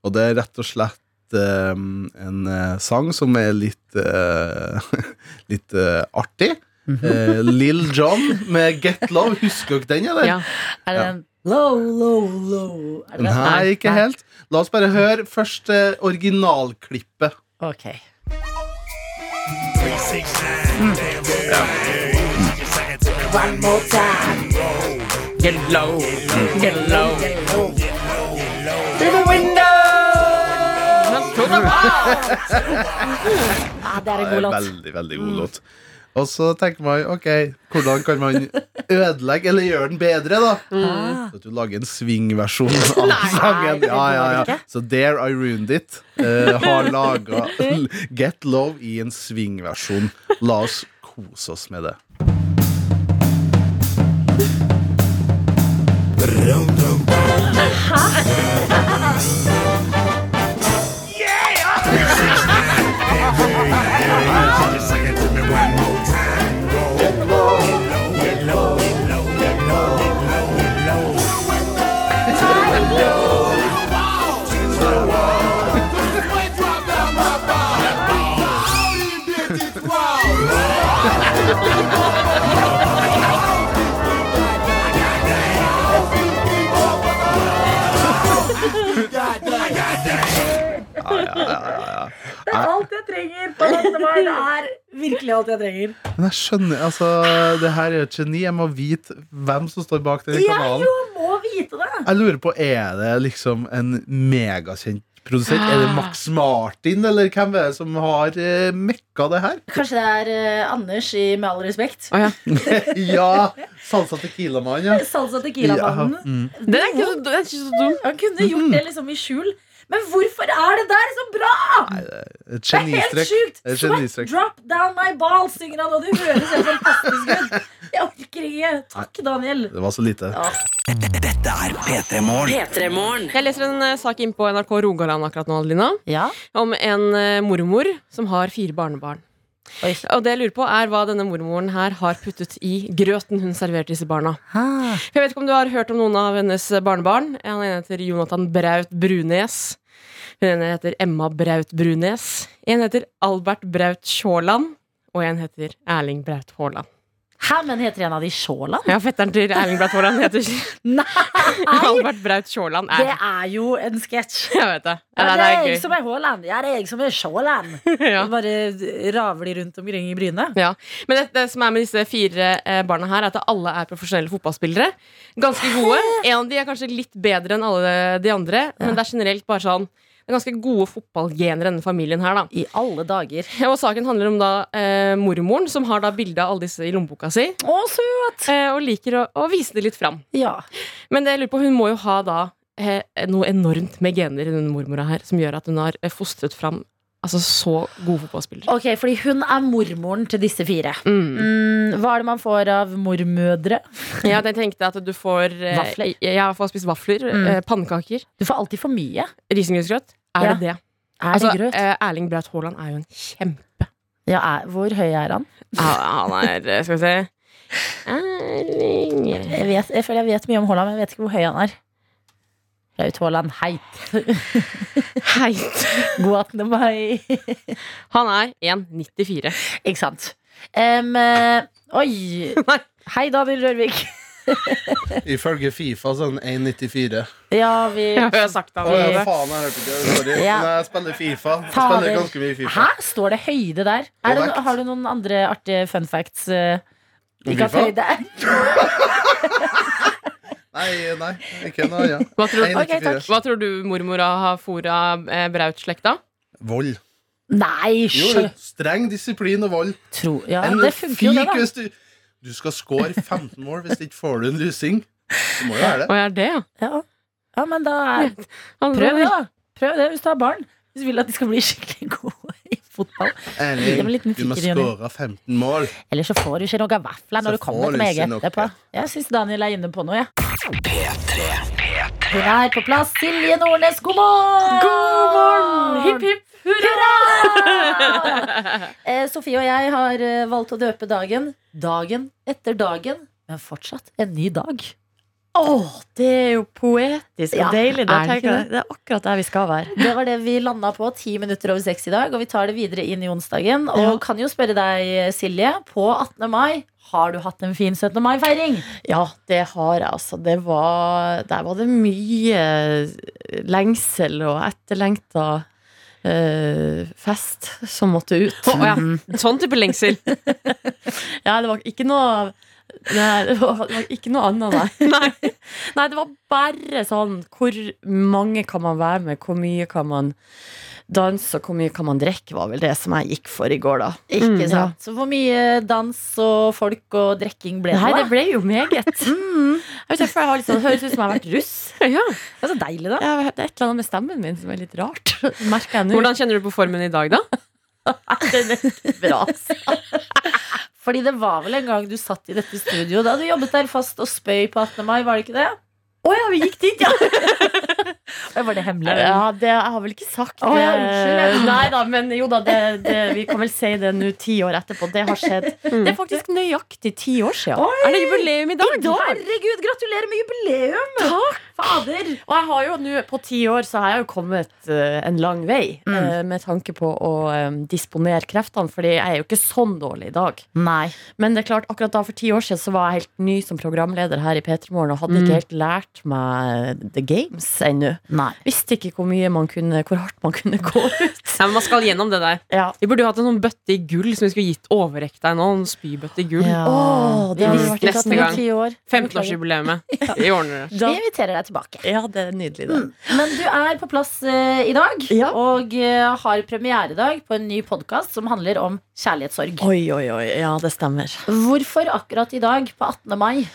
Speaker 7: Og det er rett og slett eh, en eh, sang som er litt eh, Litt eh, artig. Eh, Lill John med Get Love. Husker dere den, eller?
Speaker 5: Ja.
Speaker 4: Er det
Speaker 7: Ja.
Speaker 4: den low, low, low? Er det den?
Speaker 7: Nei, ikke helt. La oss bare høre først eh, originalklippet.
Speaker 4: Ok.
Speaker 5: Men så bra.
Speaker 4: Ja, det er en god låt.
Speaker 7: Veldig, veldig god låt. Og så tenker man ok, hvordan kan man ødelegge eller gjøre den bedre, da? Så at du lager en svingversjon av sangen. Ja, ja, ja. Så Dare I Ruined It eh, har laga Get Love i en svingversjon. La oss kose oss med det.
Speaker 4: Det er alt jeg trenger. Det er virkelig alt jeg trenger.
Speaker 7: Men jeg skjønner, altså, det her er jo et geni. Jeg må vite hvem som står bak den
Speaker 4: Jeg
Speaker 7: kanalen.
Speaker 4: jo må vite det!
Speaker 7: Jeg lurer på, er det liksom en megakjent produsent? Er
Speaker 4: Ah.
Speaker 7: det Max Martin, eller hvem er det som har eh, mekka det her?
Speaker 4: Kanskje det er eh, Anders i Med all respekt.
Speaker 5: Å, ja.
Speaker 7: ja! Salsa Tequila-mann, ja.
Speaker 4: Salsa Tequila-mannen.
Speaker 7: Ja, mm.
Speaker 5: Den er ikke så, den er ikke så dum.
Speaker 4: Han kunne
Speaker 7: Mm-hmm.
Speaker 4: gjort det liksom i skjul. Men hvorfor er det der så bra?!
Speaker 7: Et
Speaker 4: Det er helt
Speaker 7: genistrek.
Speaker 4: sjukt!
Speaker 7: Et
Speaker 4: Sweat
Speaker 7: genistrek.
Speaker 4: drop down my balls, synger han, og det høres helt fantastisk ut. Jeg orker ikke. Takk, Daniel.
Speaker 7: Det var så lite.
Speaker 2: Dette er P3 Morgen.
Speaker 3: P3morgen.
Speaker 5: Jeg leser en eh, sak inn på NRK Rogaland akkurat nå, Adelina.
Speaker 4: Ja.
Speaker 5: Om en eh, mormor som har fire barnebarn.
Speaker 4: Oi.
Speaker 5: Og det jeg lurer på er hva denne mormoren her har puttet i grøten hun serverte disse barna. For jeg vet ikke om du har hørt om noen av hennes barnebarn. Han ene heter Jonathan Braut Brunes. Hun ene heter Emma Braut Brunes. En heter Albert Braut Sjåland. Og en heter Erling Braut Haaland.
Speaker 4: Hæ, men heter en av de Sjåland?
Speaker 5: Ja, fetteren til Erling Braut Haaland heter Albert Braut Sjåland.
Speaker 4: Det
Speaker 5: Er.
Speaker 4: er jo en sketsj.
Speaker 5: Jeg vet det.
Speaker 4: Ja,
Speaker 5: Ja,
Speaker 4: det
Speaker 5: det
Speaker 4: er jeg
Speaker 5: er
Speaker 4: som er Haaland. Ja, det er jeg som er Sjåland.
Speaker 5: gøy. Ja.
Speaker 4: Bare ravler rundt omkring i brynet.
Speaker 5: Ja. Men det, det som er med disse fire eh, barna her, er at alle er profesjonelle fotballspillere. Ganske gode. En av de er kanskje litt bedre enn alle de andre, men det er generelt bare sånn det er ganske gode fotballgener i denne familien her, da.
Speaker 4: I alle dager.
Speaker 5: Og saken handler om da eh, mormoren, som har da bilde av alle disse i lommeboka si,
Speaker 4: Å, søt!
Speaker 5: eh, og liker å, å vise det litt fram.
Speaker 4: Ja.
Speaker 5: Men det jeg lurer på, hun må jo ha da eh, noe enormt med gener i denne mormora her, som gjør at hun har eh, fostret fram altså, så gode fotballspillere.
Speaker 4: Ok, fordi hun er mormoren til disse fire.
Speaker 5: Mm.
Speaker 4: Mm, hva er det man får av mormødre?
Speaker 5: Ja, jeg tenkte at du får eh,
Speaker 4: Vafler.
Speaker 5: Jeg har fått spist vafler,
Speaker 4: Mm.
Speaker 5: eh, pannekaker,
Speaker 4: Du får alltid for mye.
Speaker 5: risengrynsgrøt. Er
Speaker 4: Ja.
Speaker 5: det det?
Speaker 4: Er
Speaker 5: Altså,
Speaker 4: det grøt?
Speaker 5: eh, Erling Braut Haaland er jo en kjempe...
Speaker 4: Ja, er, hvor høy er han?
Speaker 5: Ah, Han er, eh, skal vi se Erling
Speaker 4: Jeg, vet, jeg føler jeg vet mye om Haaland, men jeg vet ikke hvor høy han er. Raut Haaland heit.
Speaker 5: Heit.
Speaker 4: God 18. mai.
Speaker 5: Han er 1,94.
Speaker 4: Ikke sant. Em, eh, oi.
Speaker 5: Nei.
Speaker 4: Hei, Daniel Rørvik.
Speaker 7: Ifølge Fifa sånn 1,94.
Speaker 4: Ja, vi
Speaker 5: Jeg har sagt det
Speaker 7: Å ja,
Speaker 5: allerede.
Speaker 7: faen, jeg hørte ikke. Sorry.
Speaker 4: Ja.
Speaker 7: Men jeg spiller Fifa. Jeg
Speaker 4: Fader.
Speaker 7: spiller ganske mye Fifa.
Speaker 4: Hæ? Står det høyde der? Er det,
Speaker 7: vekt.
Speaker 4: no- har du noen andre artige fun facts? eh,
Speaker 7: Om
Speaker 4: Ikke at
Speaker 7: FIFA?
Speaker 4: høyde er
Speaker 7: Nei, nei, ikke noe annet.
Speaker 5: Hva tror,
Speaker 7: Ok, takk.
Speaker 5: hva tror du mormora har fôra eh, Braut-slekta?
Speaker 7: Vold.
Speaker 4: Nei,
Speaker 7: Jo,
Speaker 4: sjø!
Speaker 7: streng disiplin og vold.
Speaker 4: Tro. Ja,
Speaker 7: En
Speaker 4: det funker jo, det,
Speaker 7: fik
Speaker 4: da.
Speaker 7: hvis du, du skal score 15 mål hvis ikke får du en lusing. Du må jo være det.
Speaker 5: Å, er det, ja?
Speaker 4: Ja, ja men da er
Speaker 5: Han-
Speaker 4: Prøv det, da. Prøv det hvis du har barn. Hvis du vil at de skal bli skikkelig gode i fotball. Gi dem en
Speaker 7: Erling,
Speaker 4: liten
Speaker 7: du må
Speaker 4: fikker, Jonny.
Speaker 7: score 15 mål.
Speaker 4: Eller så får du ikke noe vafler når
Speaker 7: Så
Speaker 4: du kommer
Speaker 7: får
Speaker 4: til
Speaker 7: du
Speaker 4: meg
Speaker 7: ikke noe.
Speaker 4: etterpå. Jeg syns Daniel er inne på noe, jeg. Hun er på plass. Silje Nordnes, god morgen!
Speaker 5: God morgen! Hipp, hipp.
Speaker 4: Hurra! Eh, Sofie og jeg har eh, valgt å døpe dagen dagen etter dagen, men fortsatt en ny dag.
Speaker 8: Det er jo poetisk og
Speaker 4: Ja,
Speaker 8: deilig. Da
Speaker 5: er det ikke
Speaker 8: tenker jeg, det er akkurat der vi skal være.
Speaker 4: Det var det vi landa på ti minutter over seks i dag, og vi tar det videre inn i onsdagen. Og kan jo spørre deg, Silje, på 18. mai, har du hatt en fin 17. mai-feiring?
Speaker 8: Ja, det har jeg, altså. Det var, der var det mye eh, lengsel og etterlengta eh, fest som måtte ut.
Speaker 5: Mm. Å, å, ja. En sånn type lengsel.
Speaker 8: Ja, det var ikke noe Nei, det var det var ikke noe annet, nei.
Speaker 5: Nei.
Speaker 8: Nei, det var bare sånn Hvor mange kan man være med? Hvor mye kan man danse? Og hvor mye kan man drikke? Var vel det som jeg gikk for i går, da.
Speaker 4: Ikke
Speaker 8: Mm,
Speaker 4: sant? Så hvor mye dans og folk og drikking ble det?
Speaker 8: Nei,
Speaker 4: da?
Speaker 8: det ble jo meget.
Speaker 4: Mm.
Speaker 8: Jeg vet ikke, for jeg har litt sånn, det høres ut som jeg har vært russ.
Speaker 5: Ja.
Speaker 4: Det er så deilig, da.
Speaker 8: Jeg, det er et eller annet med stemmen min som er litt rart. Merker jeg nå.
Speaker 5: Hvordan kjenner du på formen i dag, da?
Speaker 8: Den er ikke bra. altså.
Speaker 4: Fordi det var vel en gang du satt i dette studio da du jobbet der fast og spøy på 18. mai, var det ikke det?
Speaker 8: Å ja, vi gikk dit, ja.
Speaker 4: Eller var det hemmelig?
Speaker 8: Ja, det, jeg har vel ikke sagt
Speaker 4: Å, ja, unnskyld, ja.
Speaker 8: Nei da, men jo da, det, det, vi kan vel si det nå ti år etterpå. Det har skjedd.
Speaker 4: Mm.
Speaker 8: Det er faktisk nøyaktig ti år siden.
Speaker 5: Er det jubileum i dag?
Speaker 4: Herregud, gratulerer med jubileum! Takk! Fader!
Speaker 8: Og jeg har jo nå på ti år så har jeg jo kommet eh, en lang vei
Speaker 5: Mm.
Speaker 8: eh, med tanke på å eh, disponere kreftene, Fordi jeg er jo ikke sånn dårlig i dag.
Speaker 4: Nei.
Speaker 8: Men det er klart, akkurat da for ti år siden så var jeg helt ny som programleder her i P3 Morgen og hadde
Speaker 5: Mm.
Speaker 8: ikke helt lært meg The Games ennå.
Speaker 4: Nei.
Speaker 8: Visste ikke hvor mye man kunne, hvor hardt man kunne gå ut.
Speaker 5: Nei, men Man skal gjennom det der.
Speaker 8: Ja.
Speaker 5: Vi burde jo hatt en sånn bøtte i gull som vi skulle gitt overrekt deg nå. En spybøtte i gull.
Speaker 8: Åh, det
Speaker 5: Mm.
Speaker 8: hadde vært
Speaker 5: Neste gang.
Speaker 4: Ti år.
Speaker 5: 15-årsjubileumet. Vi ordner det.
Speaker 8: Da,
Speaker 4: Vi inviterer deg tilbake.
Speaker 8: ja, det er nydelig, det.
Speaker 5: Mm.
Speaker 4: Men du er på plass eh, i dag,
Speaker 8: Ja.
Speaker 4: og eh, har premieredag på en ny podkast som handler om kjærlighetssorg.
Speaker 8: Oi, oi, oi. Ja, det stemmer.
Speaker 4: Hvorfor akkurat i dag, på 18. mai?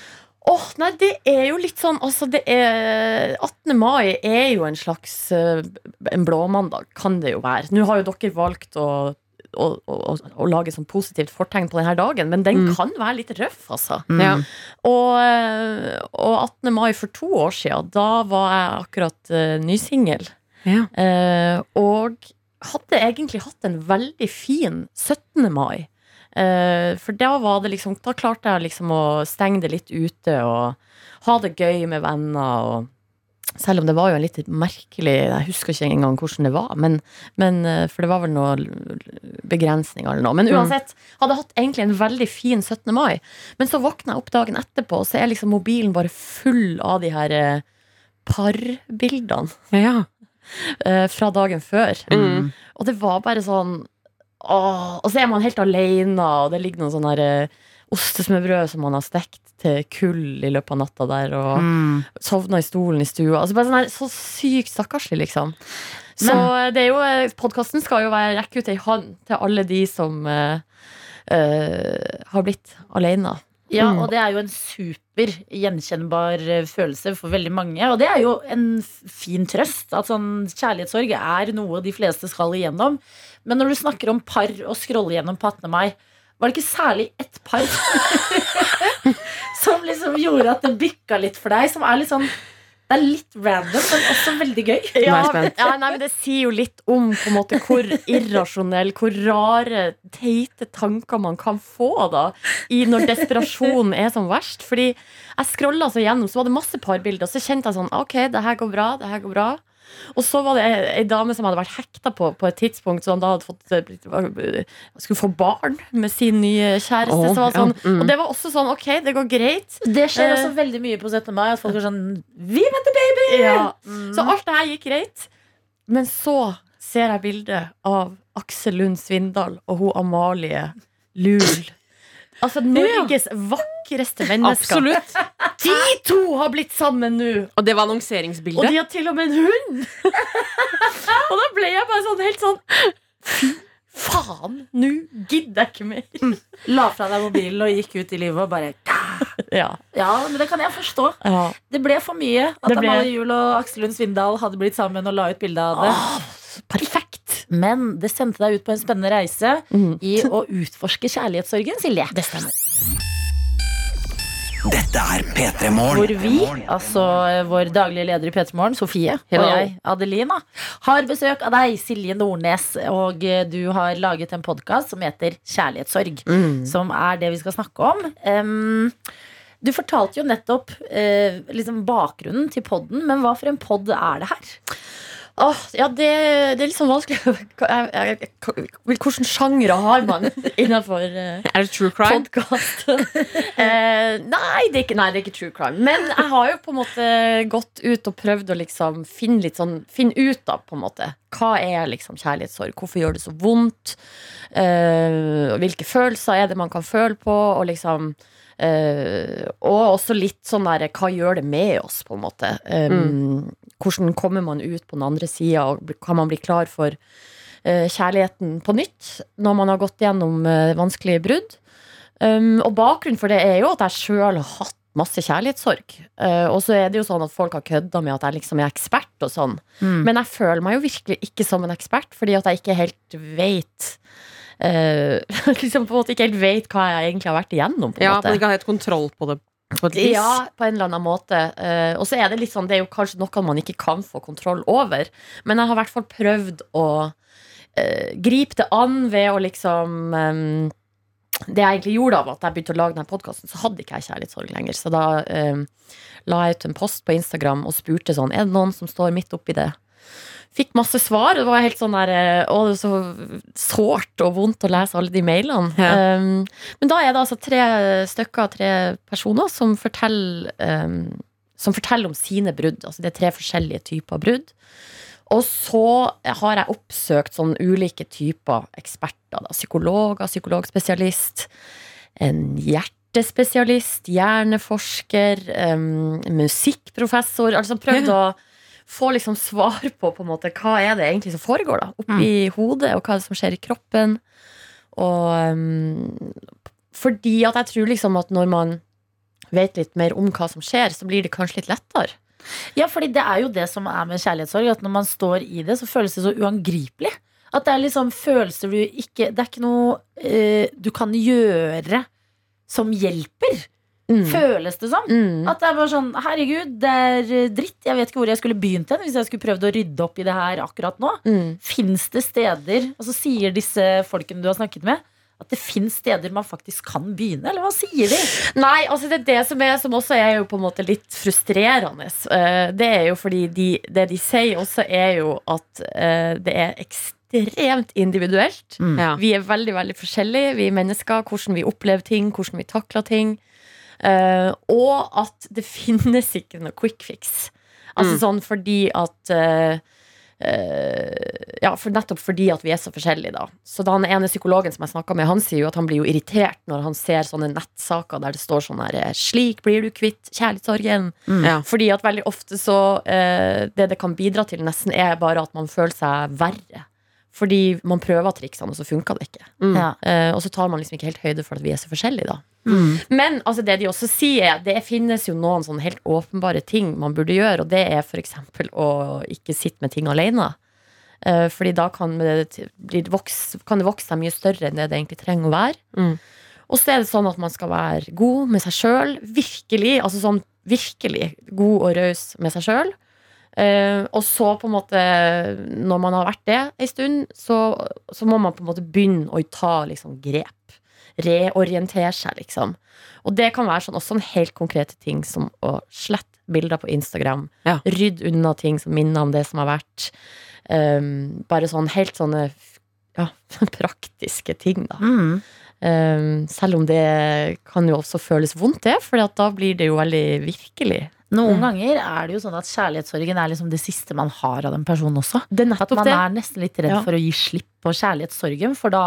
Speaker 8: Åh, nei, det er jo litt sånn altså det er, 18. mai er jo en slags eh, En blåmandag, kan det jo være. Nå har jo dere valgt å, å, å, å lage sånn positivt fortegn på denne dagen, men den
Speaker 5: Mm.
Speaker 8: kan være litt røff, altså.
Speaker 5: Ja.
Speaker 8: Og, eh, og 18. mai for to år siden, da var jeg akkurat eh, nysingel.
Speaker 5: Ja.
Speaker 8: Eh, og hadde egentlig hatt en veldig fin 17. mai. Eh, for da var det liksom Da klarte jeg liksom å stenge det litt ute og ha det gøy med venner. og selv om det var jo en litt merkelig Jeg husker ikke engang hvordan det var. Men, men, eh, for det var vel noe l- l- begrensninger eller noe. Men uansett, hadde hatt egentlig en veldig fin 17. mai. Men så våkna jeg opp dagen etterpå, og så er liksom mobilen bare full av de her eh, parbildene
Speaker 5: Ja.
Speaker 8: eh, fra dagen før.
Speaker 5: Mm.
Speaker 8: Og det var bare sånn åh, Og så er man helt alene, og det ligger noen sånne her, eh, ostesmørbrød som man har stekt til kull i løpet av natta der, og
Speaker 4: Mm.
Speaker 8: sovna i stolen i stua. Altså bare sånn her, så sykt stakkarslig, liksom. Så eh, det er jo, podkasten skal jo være rekke ut ei hånd til alle de som eh, eh, har blitt alene.
Speaker 4: Ja,
Speaker 5: Mm.
Speaker 4: og det er jo en super gjenkjennbar eh, følelse for veldig mange. Og det er jo en f- fin trøst at sånn kjærlighetssorg er noe de fleste skal igjennom. Men når du snakker om par og scrolle gjennom på 18. mai, var det ikke særlig ett par som liksom gjorde at det bykka litt for deg, som er litt sånn det er litt random, men også veldig gøy.
Speaker 8: Ja,
Speaker 5: er
Speaker 8: men,
Speaker 5: spent.
Speaker 8: ja, nei, men det sier jo litt om på en måte, hvor irrasjonell, hvor rare, teite tanker man kan få da, i når desperasjonen er som verst. Fordi jeg scrolla så gjennom, så var det masse parbilder, og så kjente jeg sånn OK, det her går bra, det her går bra. Og så var det ei, ei dame som hadde vært hekta på på et tidspunkt, så han da hadde fått, eh, blitt- var- skulle få barn med sin nye kjæreste.
Speaker 5: Åh,
Speaker 8: så var det
Speaker 5: ja,
Speaker 8: sånn,
Speaker 5: mm.
Speaker 8: Og det var også sånn OK, det går greit.
Speaker 4: Det skjer
Speaker 8: Eh.
Speaker 4: også veldig mye på 17. mai at folk er sånn Vi venter
Speaker 8: Ja. Mm. Så alt det her gikk greit. Men så ser jeg bildet av Aksel Lund Svindal og hun Amalie Lul. Altså Norges vakreste mennesker.
Speaker 5: Absolutt.
Speaker 8: De to har blitt sammen nå!
Speaker 5: Og det var
Speaker 8: Og de
Speaker 5: annonseringsbildet.
Speaker 8: har til og med en hund! og da ble jeg bare sånn helt sånn Fy faen! Nå gidder jeg ikke mer.
Speaker 4: La fra deg mobilen og gikk ut i livet og bare
Speaker 8: Ja.
Speaker 4: Ja, men det kan jeg forstå.
Speaker 8: ja.
Speaker 4: Det ble for mye at
Speaker 8: Det ble-
Speaker 4: Amalie Juel og Aksel Lund Svindal hadde blitt sammen og la ut bilde av det.
Speaker 8: Perfekt.
Speaker 4: Men det sendte deg ut på en spennende reise
Speaker 8: Mm.
Speaker 4: i å utforske kjærlighetssorgen, Silje. Det stemmer.
Speaker 2: Dette er P3 Morgen.
Speaker 4: Hvor vi, altså vår daglige leder i P3 Morgen, Sofie, og
Speaker 5: Hello.
Speaker 4: jeg, Adelina, har besøk av deg, Silje Nordnes. Og eh, du har laget en podkast som heter Kjærlighetssorg.
Speaker 8: Mm.
Speaker 4: Som er det vi skal snakke om. Em, du fortalte jo nettopp eh, liksom bakgrunnen til podden, men hva for en pod er det her?
Speaker 8: Åh, ja, det, det er litt sånn vanskelig. Jeg, jeg, jeg, hvordan sjangre har man innenfor eh,
Speaker 5: Er det true crime?
Speaker 8: Podcast. eh, nei, det er ikke, nei, det er ikke true crime. Men jeg har jo på en måte gått ut og prøvd å liksom finne, litt sånn, finne ut av på en måte. hva er liksom kjærlighetssorg. Hvorfor gjør det så vondt? Eh, og hvilke følelser er det man kan føle på? Og liksom eh, Og også litt sånn der hva gjør det med oss, på en måte? Eh, Hvordan kommer man ut på den andre sida, og bli- kan man bli klar for eh, kjærligheten på nytt når man har gått gjennom eh, vanskelige brudd? Um, og bakgrunnen for det er jo at jeg sjøl har hatt masse kjærlighetssorg. Eh, og så er det jo sånn at folk har kødda med at jeg liksom er ekspert og sånn. Men jeg føler meg jo virkelig ikke som en ekspert, fordi at jeg ikke helt vet eh, liksom på en måte ikke helt vet hva jeg egentlig har vært igjennom. På en
Speaker 5: Ja,
Speaker 8: måte.
Speaker 5: man ikke har helt kontroll på det. På et vis.
Speaker 8: Ja, på en eller annen måte. Eh, og så er det litt sånn, det er jo kanskje noe man ikke kan få kontroll over. Men jeg har i hvert fall prøvd å eh, gripe det an ved å liksom eh, Det jeg egentlig gjorde av at jeg begynte å lage denne podkasten, så hadde ikke jeg kjærlighetssorg lenger. Så da eh, la jeg ut en post på Instagram og spurte sånn Er det noen som står midt oppi det? Fikk masse svar. og Det var helt sånn der eh, Å, det er så sårt og vondt å lese alle de mailene.
Speaker 5: Ja.
Speaker 8: Um, men da er det altså tre stykker, tre personer, som forteller, eh, som forteller om sine brudd. Altså det er tre forskjellige typer brudd. Og så har jeg oppsøkt sånn ulike typer eksperter. Da. Psykologer, psykologspesialist, en hjertespesialist, hjerneforsker, eh, musikkprofessor. Altså prøvd å få liksom svar på, på en måte, hva er det egentlig som foregår da, oppi hodet, og hva er det som skjer i kroppen. Og um, fordi at jeg tror liksom at når man vet litt mer om hva som skjer, så blir det kanskje litt lettere.
Speaker 4: Ja, fordi det er jo det som er med kjærlighetssorg. At når man står i det, så føles det så uangripelig. At det er liksom følelser du ikke Det er ikke noe eh, du kan gjøre som hjelper, føles det som.
Speaker 8: Mm.
Speaker 4: At det er bare sånn Herregud, det er eh, dritt. Jeg vet ikke hvor jeg skulle begynt hen hvis jeg skulle prøvd å rydde opp i det her akkurat nå.
Speaker 8: Mm.
Speaker 4: Fins det steder Og så sier disse folkene du har snakket med, at det fins steder man faktisk kan begynne? Eller hva sier de?
Speaker 8: Nei, altså det er det som, er, som også er jo på en måte litt frustrerende. Eh, Det er jo fordi de, det de sier også, er jo at eh, det er ekstremt individuelt.
Speaker 5: Ja.
Speaker 8: Vi er veldig veldig forskjellige, vi er mennesker. Hvordan vi opplever ting, hvordan vi takler ting. Eh, og at det finnes ikke noe quick fix. Altså
Speaker 5: Mm.
Speaker 8: sånn fordi at eh, eh, Ja, for nettopp fordi at vi er så forskjellige, da. Så da han ene psykologen som jeg snakka med, han sier jo at han blir jo irritert når han ser sånne nettsaker der det står sånn her eh, 'Slik blir du kvitt kjærlighetssorgen'.
Speaker 5: Ja.
Speaker 8: Fordi at veldig ofte så eh, Det det kan bidra til nesten er bare at man føler seg verre. Fordi man prøver triksene, og så funker det ikke.
Speaker 5: Mm.
Speaker 4: Ja.
Speaker 8: Eh, og så tar man liksom ikke helt høyde for at vi er så forskjellige, da.
Speaker 5: Mm.
Speaker 8: Men altså, det de også sier, er det finnes jo noen sånne helt åpenbare ting man burde gjøre, og det er f.eks. å ikke sitte med ting alene. Eh, Fordi da kan det, t- bli- vokse, kan det vokse seg mye større enn det det egentlig trenger å være.
Speaker 5: Mm.
Speaker 8: Og så er det sånn at man skal være god med seg sjøl. Virkelig. Altså sånn virkelig god og raus med seg sjøl. Eh, og så på en måte Når man har vært det en stund Så, så må man på en måte begynne Å ta liksom grep Reorientere seg liksom Og det kan være sånn, også en helt konkrete ting Som å slette bilder på Instagram
Speaker 5: Ja.
Speaker 8: Rydd unna ting som minner om det som har vært Eh, Bare sånn helt sånne ja, Praktiske ting da Eh, Selv om det kan jo også føles vondt det For da blir det jo veldig virkelig
Speaker 4: Noen ganger er det jo sånn at kjærlighetssorgen er liksom det siste man har av den personen også.
Speaker 8: Det
Speaker 4: At
Speaker 8: er nettopp
Speaker 4: man
Speaker 8: det
Speaker 4: er nesten litt redd
Speaker 8: Ja.
Speaker 4: for å gi slipp på kjærlighetssorgen, for da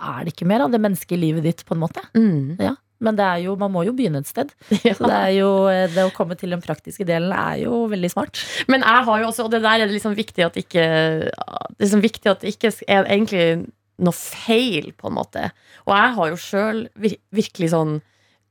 Speaker 4: er det ikke mer av det mennesket i livet ditt, på en måte.
Speaker 8: mm.
Speaker 4: Men det er jo, man må jo begynne et sted. Så det, er jo, eh, det å komme til den praktiske delen er jo veldig smart.
Speaker 8: Men jeg har jo også, og det der er det liksom viktig at ikke Det er liksom viktig at det ikke er egentlig noe feil, på en måte. Og jeg har jo sjøl vir virkelig sånn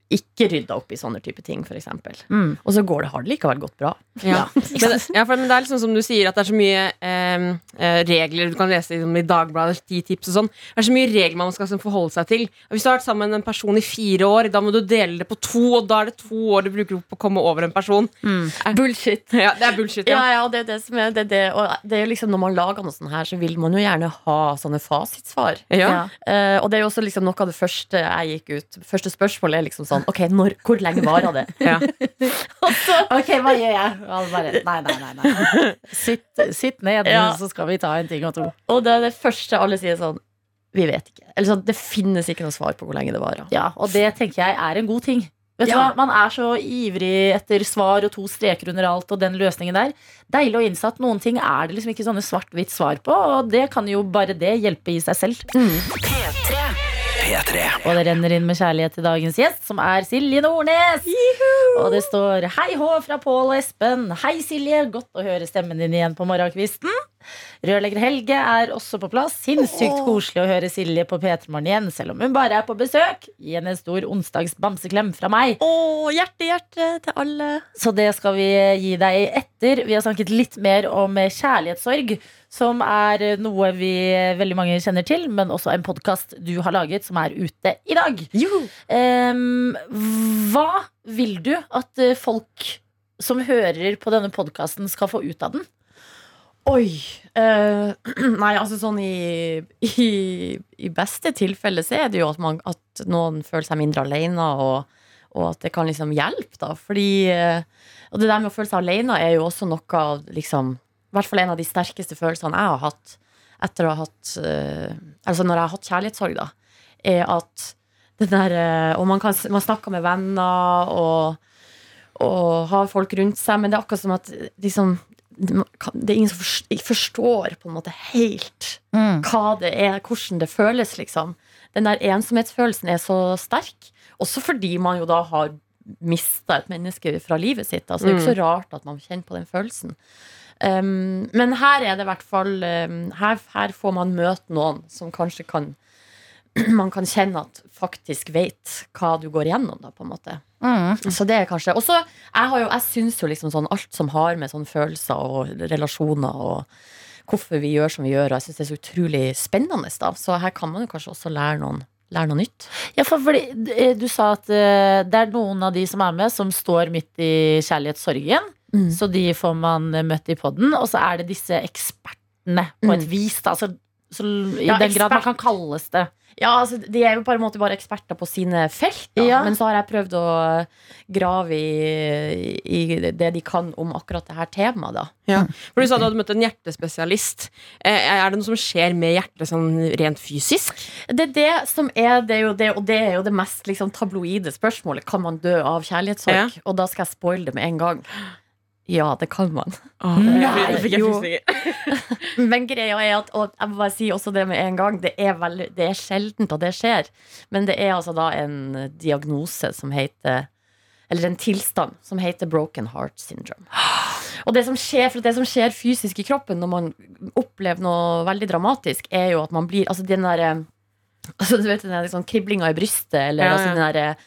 Speaker 8: ikke rydda opp i sånne type ting, f.eks.
Speaker 4: Mm.
Speaker 8: Og så går det, har det likevel gått bra.
Speaker 5: Ja. Men, ja, for, men det er liksom som du sier, at det er så mye em, eh, regler du kan lese liksom, i Dagbladet, ti tips og sånn. Det er så mye regler man skal liksom, forholde seg til. Og hvis du har vært sammen med en person i fire år, da må du dele det på to, og da er det to år du bruker på å komme over en person.
Speaker 8: Bullshit.
Speaker 5: Ja, det er bullshit.
Speaker 8: Eh. Ja,
Speaker 5: Ja.
Speaker 8: ja, det er det som er det, er det. Og det er jo liksom, når man lager noe sånn her, så vil man jo gjerne ha sånne fasitsvar.
Speaker 5: Ja.
Speaker 8: Eh, og det er jo også liksom noe av det første jeg gikk ut Første spørsmålet er liksom sånn sånn OK, når, hvor lenge varer det?
Speaker 5: Ja.
Speaker 4: Ok, hva gjør jeg? Og alle bare, nei, nei, nei, nei. Sitt, sitt ned,
Speaker 8: Ja.
Speaker 4: så skal vi ta en ting og to.
Speaker 8: Og det er det første alle sier sånn Vi vet ikke. Eller sånn, det finnes ikke noe svar på hvor lenge det varer.
Speaker 4: Ja, og det tenker jeg er en god ting. Vet du hva?
Speaker 8: Ja.
Speaker 4: Man er så ivrig etter svar og to streker under alt og den løsningen der. Deilig å innse at noen ting er det liksom ikke sånne svart-hvitt svar på, og det kan jo bare det hjelpe i seg selv.
Speaker 2: P3.
Speaker 4: Og det renner inn med kjærlighet til dagens gjest, som er Silje Nordnes. Og det står 'Hei H' fra Pål og Espen. Hei, Silje. Godt å høre stemmen din igjen på morgenkvisten. Rørlegger Helge er også på plass. Sinnssykt koselig å høre Silje på P3 Morgen igjen, selv om hun bare er på besøk. Gi henne en stor onsdags bamseklem fra meg.
Speaker 8: Å, hjerte, hjerte til alle.
Speaker 4: Så det skal vi gi deg etter. Vi har snakket litt mer om kjærlighetssorg, som er noe vi veldig mange kjenner til, men også en podkast du har laget, som er ute i dag. Em, hva vil du at eh, folk som hører på denne podkasten, skal få ut av den?
Speaker 8: Oi. eh, nei, altså sånn i, i, i beste tilfelle så er det jo at, man, at noen føler seg mindre alene, og, og at det kan liksom hjelpe, da. Fordi eh, Og det der med å føle seg alene er jo også noe av liksom I hvert fall en av de sterkeste følelsene jeg har hatt etter å ha hatt eh, Altså når jeg har hatt kjærlighetssorg, da, er at det der eh, Og man, kan, s- man snakker med venner og, og har folk rundt seg, men det er akkurat som at eh, liksom det er ingen som forstår, forstår på en måte helt hva det er, hvordan det føles, liksom. Den der ensomhetsfølelsen er så sterk. Også fordi man jo da har mista et menneske fra livet sitt. Altså, det er jo ikke så rart at man kjenner på den følelsen. Um, men her er det i hvert fall um, her, her får man møte noen som kanskje kan man kan kjenne at faktisk vet hva du går gjennom, da, på en måte. Så det er kanskje Og så jeg, har jo- jeg syns jo liksom sånn alt som har med sånn følelser og relasjoner og hvorfor vi gjør som vi gjør, og jeg syns det er så utrolig spennende, da. Så her kan man jo kanskje også lære noen lære noe nytt.
Speaker 4: Ja, for fordi, eh, du sa at eh, det er noen av de som er med, som står midt i kjærlighetssorgen.
Speaker 8: Mm.
Speaker 4: Så de får man eh, møtt i podden. Og så er det disse ekspertene på et
Speaker 8: Mm.
Speaker 4: vis, da. Så, så l- i
Speaker 8: Ja,
Speaker 4: den grad man
Speaker 8: ekspert.
Speaker 4: kan kalles det.
Speaker 8: Ja, altså, De er jo på en måte bare eksperter på sine felt, da.
Speaker 4: Ja.
Speaker 8: men så har jeg prøvd å grave i, i det de kan om akkurat det her temaet. da
Speaker 5: Ja. For du sa du hadde møtt en hjertespesialist. Eh, Er det noe som skjer med hjertet sånn rent fysisk?
Speaker 8: Det er det som er det, er jo det og det er jo det mest liksom, tabloide spørsmålet. Kan man dø av kjærlighetssorg? Og da skal jeg spoile det med en gang. Ja, det kan man.
Speaker 5: Nei,
Speaker 8: fikk jeg Men greia er at Og jeg må bare si også det med en gang. Det er, veldig, det er sjeldent at det skjer. Men det er altså da en diagnose som heter Eller en tilstand som heter broken heart syndrome. Og det som skjer, for det som skjer fysisk i kroppen når man opplever noe veldig dramatisk, er jo at man blir Altså den derre altså, Du vet den der liksom, kriblinga i brystet, eller
Speaker 5: Ja, ja.
Speaker 8: altså den derre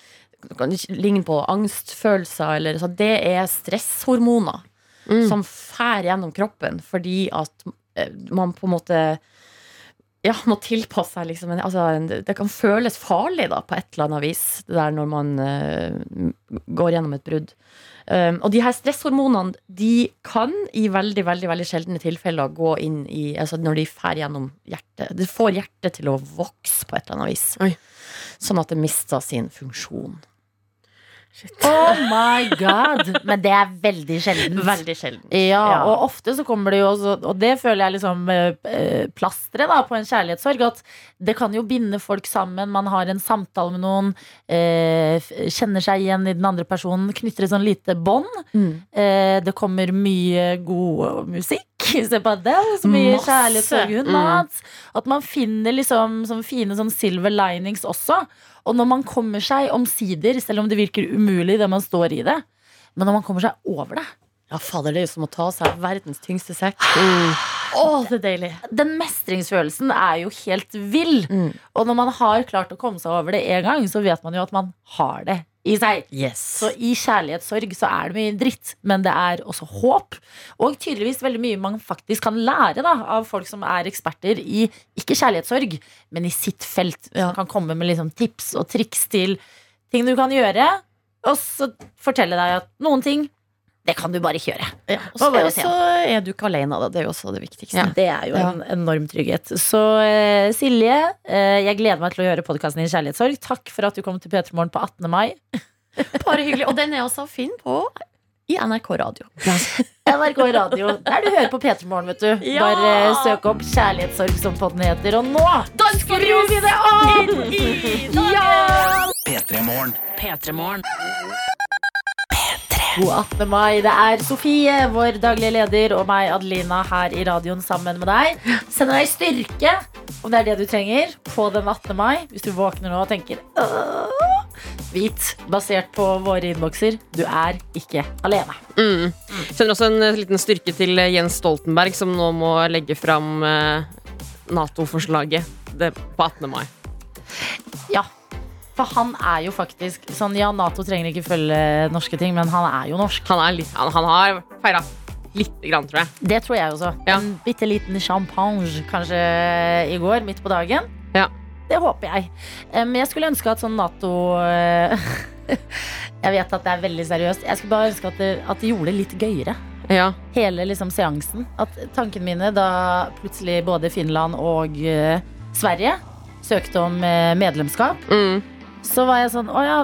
Speaker 8: kan det ligne på angstfølelser. Eller, så det er stresshormoner
Speaker 5: Mm.
Speaker 8: som fær gjennom kroppen fordi at eh, man på en måte ja, må tilpasse seg. Liksom. en- Altså, en- det kan føles farlig da, på et eller annet vis det der når man eh, m- går gjennom et brudd. Um, og de her stresshormonene De kan i veldig, veldig, veldig sjeldne tilfeller gå inn i altså Når de fær gjennom hjertet. Det får hjertet til å vokse på et eller annet vis.
Speaker 5: Oi.
Speaker 8: Sånn at det mister sin funksjon.
Speaker 4: Oh my god! Men det er veldig sjeldent.
Speaker 8: Veldig sjelden.
Speaker 4: Ja,
Speaker 8: Ja.
Speaker 4: og ofte så kommer det jo også, Og det føler jeg liksom eh, eh, plasteret da, på en kjærlighetssorg. At det kan jo binde folk sammen. Man har en samtale med noen. eh, f- kjenner seg igjen i den andre personen. Knytter et sånn lite bånd. Eh, det kommer mye god musikk. Se på Adele, så mye
Speaker 8: Masse.
Speaker 4: kjærlighetssorg hun
Speaker 5: Mm.
Speaker 4: har hatt. At man finner liksom sånne fine sånn silver linings også. Og når man kommer seg omsider, selv om det virker umulig det man står i det, men når man kommer seg over det
Speaker 8: Ja, fader, det er jo som å ta seg verdens tyngste sekk. Å, det er deilig.
Speaker 4: den mestringsfølelsen er jo helt vill.
Speaker 8: Mm.
Speaker 4: Og når man har klart å komme seg over det en gang, så vet man jo at man har det i seg.
Speaker 8: Yes.
Speaker 4: Så i kjærlighetssorg så er det mye dritt, men det er også håp. Og tydeligvis veldig mye man faktisk kan lære da, av folk som er eksperter i ikke kjærlighetssorg, men i sitt felt.
Speaker 8: Ja.
Speaker 4: Som kan komme med liksom tips og triks til ting du kan gjøre, og så fortelle deg at noen ting Det kan du bare kjøre.
Speaker 8: Og
Speaker 4: Hva var det
Speaker 8: så
Speaker 4: å se?
Speaker 8: så er du ikke alene, da. Det er jo også det viktigste.
Speaker 4: Det er jo en enorm trygghet. Så eh, Silje, eh, jeg gleder meg til å høre podkasten din Kjærlighetssorg. Takk for at du kom til P3 Morgen på 18. mai.
Speaker 8: Bare hyggelig. Og den er også å finne på i NRK Radio.
Speaker 4: NRK Radio, der du hører på P3 Morgen, vet du.
Speaker 8: Ja!
Speaker 4: Bare eh, søk opp Kjærlighetssorg, som podden heter. Og nå skrur vi det av! Ja!
Speaker 2: P3morgen.
Speaker 3: P3morgen.
Speaker 4: God 18. mai. Det er Sofie, vår daglige leder, og meg, Adelina, her i radioen sammen med deg. Sender deg styrke, om det er det du trenger, på den 18. mai. Hvis du våkner nå og tenker «Åh», Vit, basert på våre innbokser, du er ikke alene.
Speaker 5: Mm. Sender også en eh, liten styrke til eh, Jens Stoltenberg, som nå må legge fram eh, Nato-forslaget det- på 18. mai.
Speaker 4: Ja. For han er jo faktisk sånn Ja, Nato trenger ikke følge norske ting, men han er jo norsk.
Speaker 5: Han, er litt, han, han har feira lite grann, tror jeg.
Speaker 4: Det tror jeg også.
Speaker 5: Ja.
Speaker 4: En bitte liten champagne kanskje i går, midt på dagen.
Speaker 5: Ja.
Speaker 4: Det håper jeg. Men jeg skulle ønske at sånn Nato eh, Jeg vet at det er veldig seriøst. Jeg skulle bare ønske at det, at det gjorde det litt gøyere.
Speaker 5: Ja.
Speaker 4: Hele liksom seansen. At tankene mine da plutselig både Finland og eh, Sverige søkte om eh, medlemskap
Speaker 5: Mm.
Speaker 4: så var jeg sånn Å ja,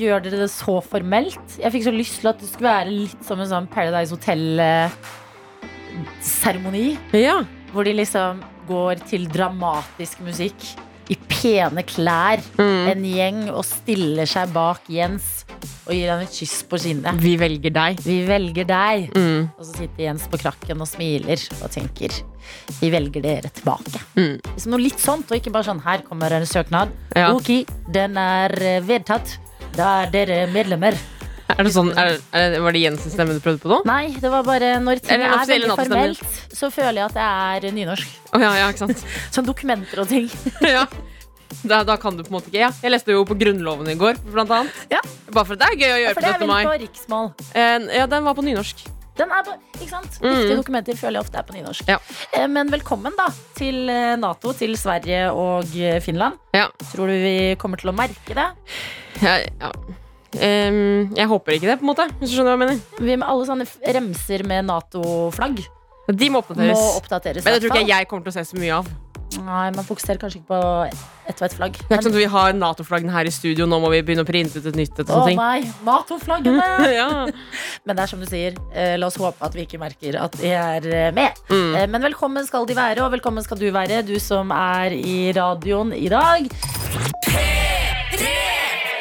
Speaker 4: gjør dere det så formelt? Jeg fikk så lyst til at det skulle være litt som en sånn Paradise eh, Hotel-seremoni.
Speaker 5: ja.
Speaker 4: Hvor de liksom går til dramatisk musikk i pene klær.
Speaker 5: Mm.
Speaker 4: En gjeng og stiller seg bak Jens og gir han et kyss på kinnet.
Speaker 5: Vi velger deg.
Speaker 4: Vi velger deg.
Speaker 5: Mm.
Speaker 4: Og så sitter Jens på krakken og smiler og tenker Vi velger dere tilbake.
Speaker 5: Mm.
Speaker 4: Liksom noe litt sånt, og ikke bare sånn Her kommer en søknad.
Speaker 5: Ja.
Speaker 4: Ok, den er eh, vedtatt. Da er dere medlemmer.
Speaker 5: Er det sånn, er, er, var det Jensens stemme du prøvde på nå?
Speaker 4: Nei, det var bare når ting
Speaker 5: Er det
Speaker 4: er,
Speaker 5: offisielle
Speaker 4: veldig
Speaker 5: NATO-stemmer?
Speaker 4: formelt, så føler jeg at det er nynorsk.
Speaker 5: Å, ja, ja, ikke sant?
Speaker 4: Sånn dokumenter og ting.
Speaker 5: ja. da, da kan du på en måte ikke. Ja. Jeg leste jo på Grunnloven i går, blant annet.
Speaker 4: Ja.
Speaker 5: Bare for at det er gøy å gjøre
Speaker 4: For det
Speaker 5: på
Speaker 4: er
Speaker 5: 17.
Speaker 4: vel
Speaker 5: mai.
Speaker 4: på riksmål.
Speaker 5: Eh, ja, den var på nynorsk.
Speaker 4: Den er på, ikke sant?
Speaker 5: Mm.
Speaker 4: Viktige dokumenter føler jeg ofte er på nynorsk.
Speaker 5: Ja.
Speaker 4: Eh, Men velkommen da til eh, Nato, til Sverige og eh, Finland.
Speaker 5: Ja.
Speaker 4: Tror du vi kommer til å merke det?
Speaker 5: Ja, ja. Em, jeg håper ikke det, på en måte. Hvis du skjønner hva jeg mener.
Speaker 4: Vi med alle sånne f- remser med Nato-flagg
Speaker 5: De må
Speaker 4: må
Speaker 5: oppdateres.
Speaker 4: oppdateres.
Speaker 5: Men det tror
Speaker 4: i
Speaker 5: ikke
Speaker 4: hvert
Speaker 5: jeg jeg kommer til å se så mye av.
Speaker 4: fall. Nei, Man fokuserer kanskje ikke på ett og ett flagg.
Speaker 5: Det er ikke sånn at Vi har Nato-flaggene her i studio, nå må vi begynne å printe ut et nytt. Et
Speaker 4: å
Speaker 5: sånt ting.
Speaker 4: nei, Nato-flaggene!
Speaker 5: ja.
Speaker 4: Men det er som du sier, eh, la oss håpe at vi ikke merker at de er eh, med.
Speaker 5: Mm.
Speaker 4: Eh, men velkommen skal de være, og velkommen skal du være, du som er i radioen i dag.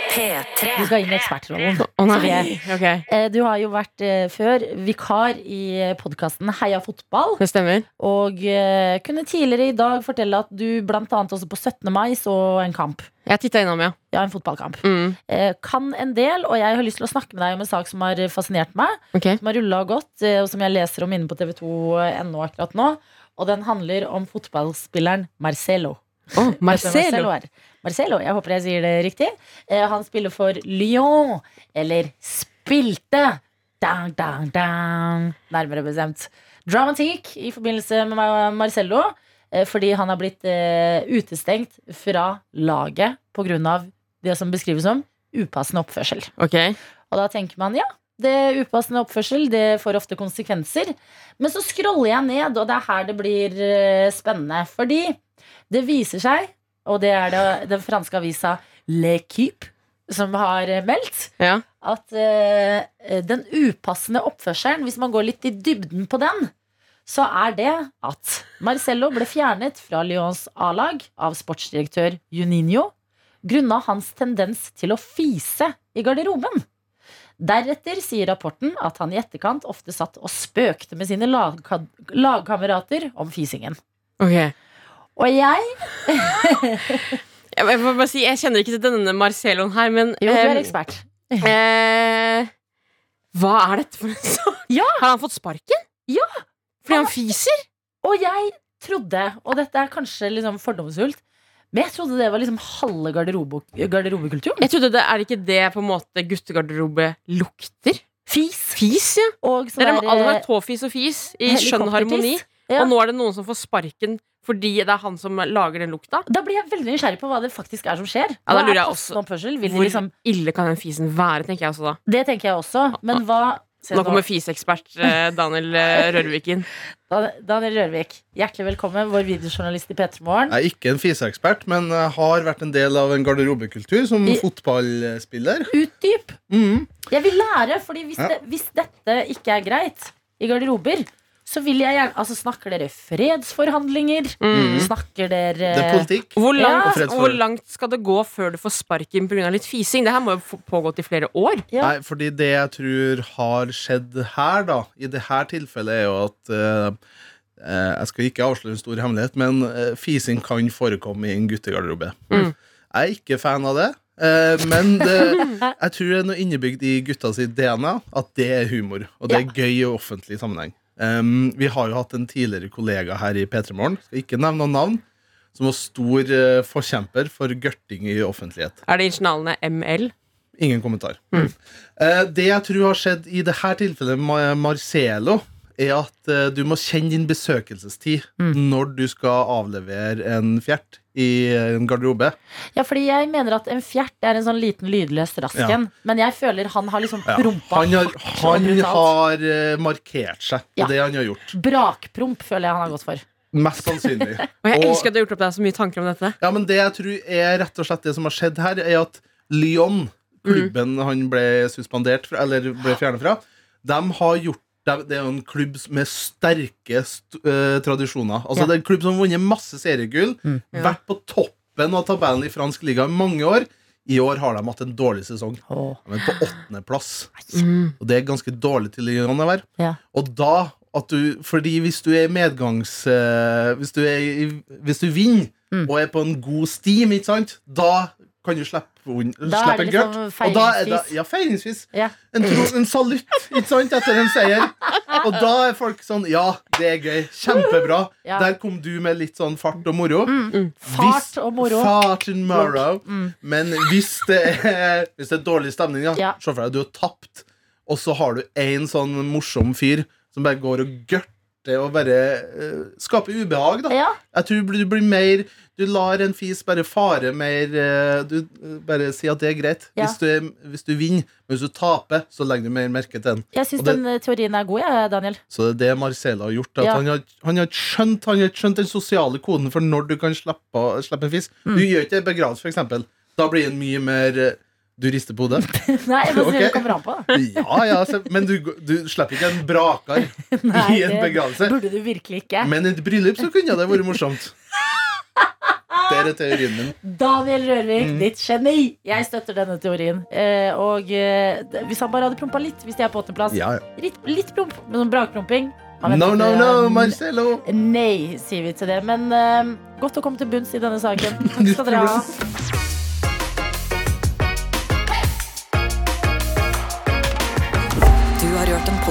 Speaker 3: P3.
Speaker 4: Du skal inn i ekspertrollen.
Speaker 5: Å
Speaker 4: Så vi
Speaker 5: nei.
Speaker 4: er-
Speaker 5: Ok,
Speaker 4: Eh, Du har jo vært eh, før vikar i podkasten Heia fotball.
Speaker 5: det stemmer.
Speaker 4: Og eh, kunne tidligere i dag fortelle at du bl.a. også på 17. mai så en kamp.
Speaker 5: Jeg titta innom, ja.
Speaker 4: Ja, en fotballkamp.
Speaker 5: Mm.
Speaker 4: Eh, Kan en del, og jeg har lyst til å snakke med deg om en sak som har fascinert meg.
Speaker 5: Ok.
Speaker 4: som har rulla godt, eh, og som jeg leser om inne på tv2.no akkurat nå. Og den handler om fotballspilleren Marcelo.
Speaker 5: Å,
Speaker 4: Vet du hvem
Speaker 5: Marcelo.
Speaker 4: er? Marcelo, Jeg håper jeg sier det riktig. Eh, Han spiller for Lyon, eller spilte. Dang, dang, dang. Nærmere bestemt. Dramatikk i forbindelse med Mar- Marcelo. eh, Fordi han har blitt eh, utestengt fra laget pga. det som beskrives som upassende oppførsel.
Speaker 5: Ok.
Speaker 4: Og da tenker man ja, det er upassende oppførsel, det får ofte konsekvenser. Men så scroller jeg ned, og det er her det blir eh, spennende. Fordi det viser seg, og det er det den franske avisa L'Equipe som har eh, meldt,
Speaker 5: Ja.
Speaker 4: at eh, den upassende oppførselen, hvis man går litt i dybden på den, så er det at Marcello ble fjernet fra Lyons A-lag av sportsdirektør Juninho grunna hans tendens til å fise i garderoben. Deretter sier rapporten at han i etterkant ofte satt og spøkte med sine lagka- lagkamerater om fisingen.
Speaker 5: Ok.
Speaker 4: Og jeg
Speaker 5: Jeg, jeg, må bare si, jeg kjenner ikke til denne Marceloen her, men
Speaker 4: Jo, du er
Speaker 5: em,
Speaker 4: ekspert.
Speaker 5: Eh, hva er dette for en sak?
Speaker 4: Ja.
Speaker 5: Har han fått sparken?
Speaker 4: Ja.
Speaker 5: Fordi han fiser?
Speaker 4: Og jeg trodde, og dette er kanskje liksom fordomsfullt, men jeg trodde det var liksom halve garderobe, garderobekulturen.
Speaker 5: Jeg trodde det, Er det ikke det på en måte guttegarderobe lukter?
Speaker 4: Fis.
Speaker 5: Fis, ja.
Speaker 4: Og
Speaker 5: Det
Speaker 4: sånn
Speaker 5: er de alle har
Speaker 4: der, eh,
Speaker 5: tåfis og fis i
Speaker 4: helikoptertiss.
Speaker 5: skjønn harmoni.
Speaker 4: Ja.
Speaker 5: Og nå er det noen som får sparken fordi det er han som lager den lukta.
Speaker 4: da blir jeg veldig nysgjerrig på hva det faktisk er som skjer.
Speaker 5: Ja, da
Speaker 4: Hva
Speaker 5: lurer
Speaker 4: er
Speaker 5: jeg
Speaker 4: passende oppførsel? Vil de
Speaker 5: Hvor
Speaker 4: liksom,
Speaker 5: ille kan den fisen være, tenker jeg også da.
Speaker 4: det tenker jeg også. Men hva
Speaker 5: Ah, Nå kommer fiseekspert eh, Daniel eh, Rørvik inn.
Speaker 4: Dan- Daniel Rørvik, hjertelig velkommen, vår videojournalist i P3 Morgen.
Speaker 7: Jeg er ikke en fiseekspert, men jeg har vært en del av en garderobekultur som
Speaker 4: I- Eh,
Speaker 7: fotballspiller.
Speaker 4: Utdyp!
Speaker 7: Mhm.
Speaker 4: Jeg vil lære, fordi hvis,
Speaker 7: Ja.
Speaker 4: det, hvis dette ikke er greit i garderober, så vil jeg gjerne Altså, snakker dere fredsforhandlinger? Snakker dere
Speaker 7: Mm. Det er politikk.
Speaker 5: Hvor langt,
Speaker 7: Ja.
Speaker 5: hvor langt skal det gå før du får sparken pga. litt fising? Det her må jo få- pågått i flere år.
Speaker 4: Ja.
Speaker 7: Nei, fordi det jeg tror har skjedd her, da, i det her tilfellet, er jo at eh, eh, Jeg skal ikke avsløre en stor hemmelighet, men eh, fising kan forekomme i en guttegarderobe.
Speaker 5: Mm.
Speaker 7: Jeg er ikke fan av det, eh, men det, jeg tror det er noe innebygd i gutta sitt DNA at det er humor, og det er gøy i offentlig sammenheng. Um, vi har jo hatt en tidligere kollega her i P3 Morgen, skal ikke nevne noen navn, som var stor eh, forkjemper for gørting i offentlighet.
Speaker 5: Er det initialene ML?
Speaker 7: Ingen kommentar. Eh, det jeg tror har skjedd i det her tilfellet med Marcelo, er at eh, du må kjenne din besøkelsestid når du skal avlevere en fjert i en garderobe.
Speaker 4: ja, fordi jeg mener at en fjert er en sånn liten lydløs rasken,
Speaker 7: Ja.
Speaker 4: men jeg føler han har liksom
Speaker 7: Ja.
Speaker 4: prompa
Speaker 7: Han har,
Speaker 4: hardt og
Speaker 7: han
Speaker 4: brutalt.
Speaker 7: har eh, markert seg,
Speaker 4: Ja.
Speaker 7: og det han har gjort.
Speaker 4: Brakpromp føler jeg han har gått for.
Speaker 7: Mest sannsynlig.
Speaker 5: Og jeg
Speaker 7: Og-
Speaker 5: elsker at du har gjort opp deg så mye tanker om dette.
Speaker 7: Ja, men det jeg tror er rett og slett det som har skjedd her, er at Lyon, klubben han ble suspendert fra, eller ble fjernet fra, de har gjort de- det er jo en klubb med sterke st eh, tradisjoner. Altså Det er en klubb som har vunnet masse seriegull,
Speaker 4: Mm.
Speaker 7: vært på toppen av tabellen i fransk liga i mange år. I år har de hatt en dårlig sesong. De er på åttendeplass. Og det er ganske dårlig til Lyon å være.
Speaker 4: Ja.
Speaker 7: Og da at du, fordi hvis du er i medgangs eh, hvis, du er i, hvis du vinner
Speaker 4: Mm.
Speaker 7: og er på en god stim, ikke sant? Da kan du slippe, un-
Speaker 4: Da er
Speaker 7: slippe
Speaker 4: det
Speaker 7: en gørt.
Speaker 4: liksom
Speaker 7: Og da er det-
Speaker 4: feiringsvis.
Speaker 7: Ja, feiringsvis.
Speaker 4: Ja.
Speaker 7: En, tro, en salutt, ikke sant, etter en seier. Og da er folk sånn Ja, det er gøy. Kjempebra.
Speaker 4: Ja. Mm.
Speaker 7: Der kom du med litt sånn fart og moro.
Speaker 4: Fart
Speaker 7: Hvis-
Speaker 4: og moro. Mm.
Speaker 7: Fart and moro. Men hvis det er, hvis det er dårlig stemning, ja,
Speaker 4: Ja.
Speaker 7: se for deg at du har tapt, og så har du én sånn morsom fyr som bare går og gørter og bare eh, skaper ubehag, da.
Speaker 4: Ja.
Speaker 7: Jeg tror du blir mer Du lar en fis bare fare mer eh, Du eh, bare sier at det er greit
Speaker 4: Ja.
Speaker 7: hvis, du, er- hvis du vinner. Men hvis du taper, så legger du mer merke til den.
Speaker 4: Jeg syns
Speaker 7: Og det-
Speaker 4: den eh, teorien er god, jeg, Daniel.
Speaker 7: Så det er det Marcelo har gjort. At
Speaker 4: Ja.
Speaker 7: han, har, han, har ikke skjønt, han har ikke skjønt den sosiale koden for når du kan slippe, slippe en fisk.
Speaker 4: Mm.
Speaker 7: Du gjør ikke det i begravelse, for eksempel Da blir den mye mer eh, Du rister på hodet.
Speaker 4: Nei, jeg må si
Speaker 7: Ok.
Speaker 4: det kommer an på. da.
Speaker 7: Ja, ja, se- men du, du slipper ikke en brakar
Speaker 4: Nei,
Speaker 7: i
Speaker 4: det
Speaker 7: en begravelse.
Speaker 4: burde du virkelig ikke.
Speaker 7: Men i et bryllup så kunne det vært morsomt. Der er teorien min.
Speaker 4: Daniel Rørvik,
Speaker 7: Mm.
Speaker 4: ditt geni! Jeg støtter denne teorien. Eh, og eh, d- hvis han bare hadde prompa litt, hvis de er på åttendeplass
Speaker 7: Ja, ja.
Speaker 4: Litt, litt promp, men sånn brakpromping Altså, han vet
Speaker 7: No,
Speaker 4: ikke,
Speaker 7: no, no,
Speaker 4: eh,
Speaker 7: Marcelo!
Speaker 4: Nei, sier vi til det. Men eh, godt å komme til bunns i denne saken. Takk skal dere ha.
Speaker 1: Du har hørt en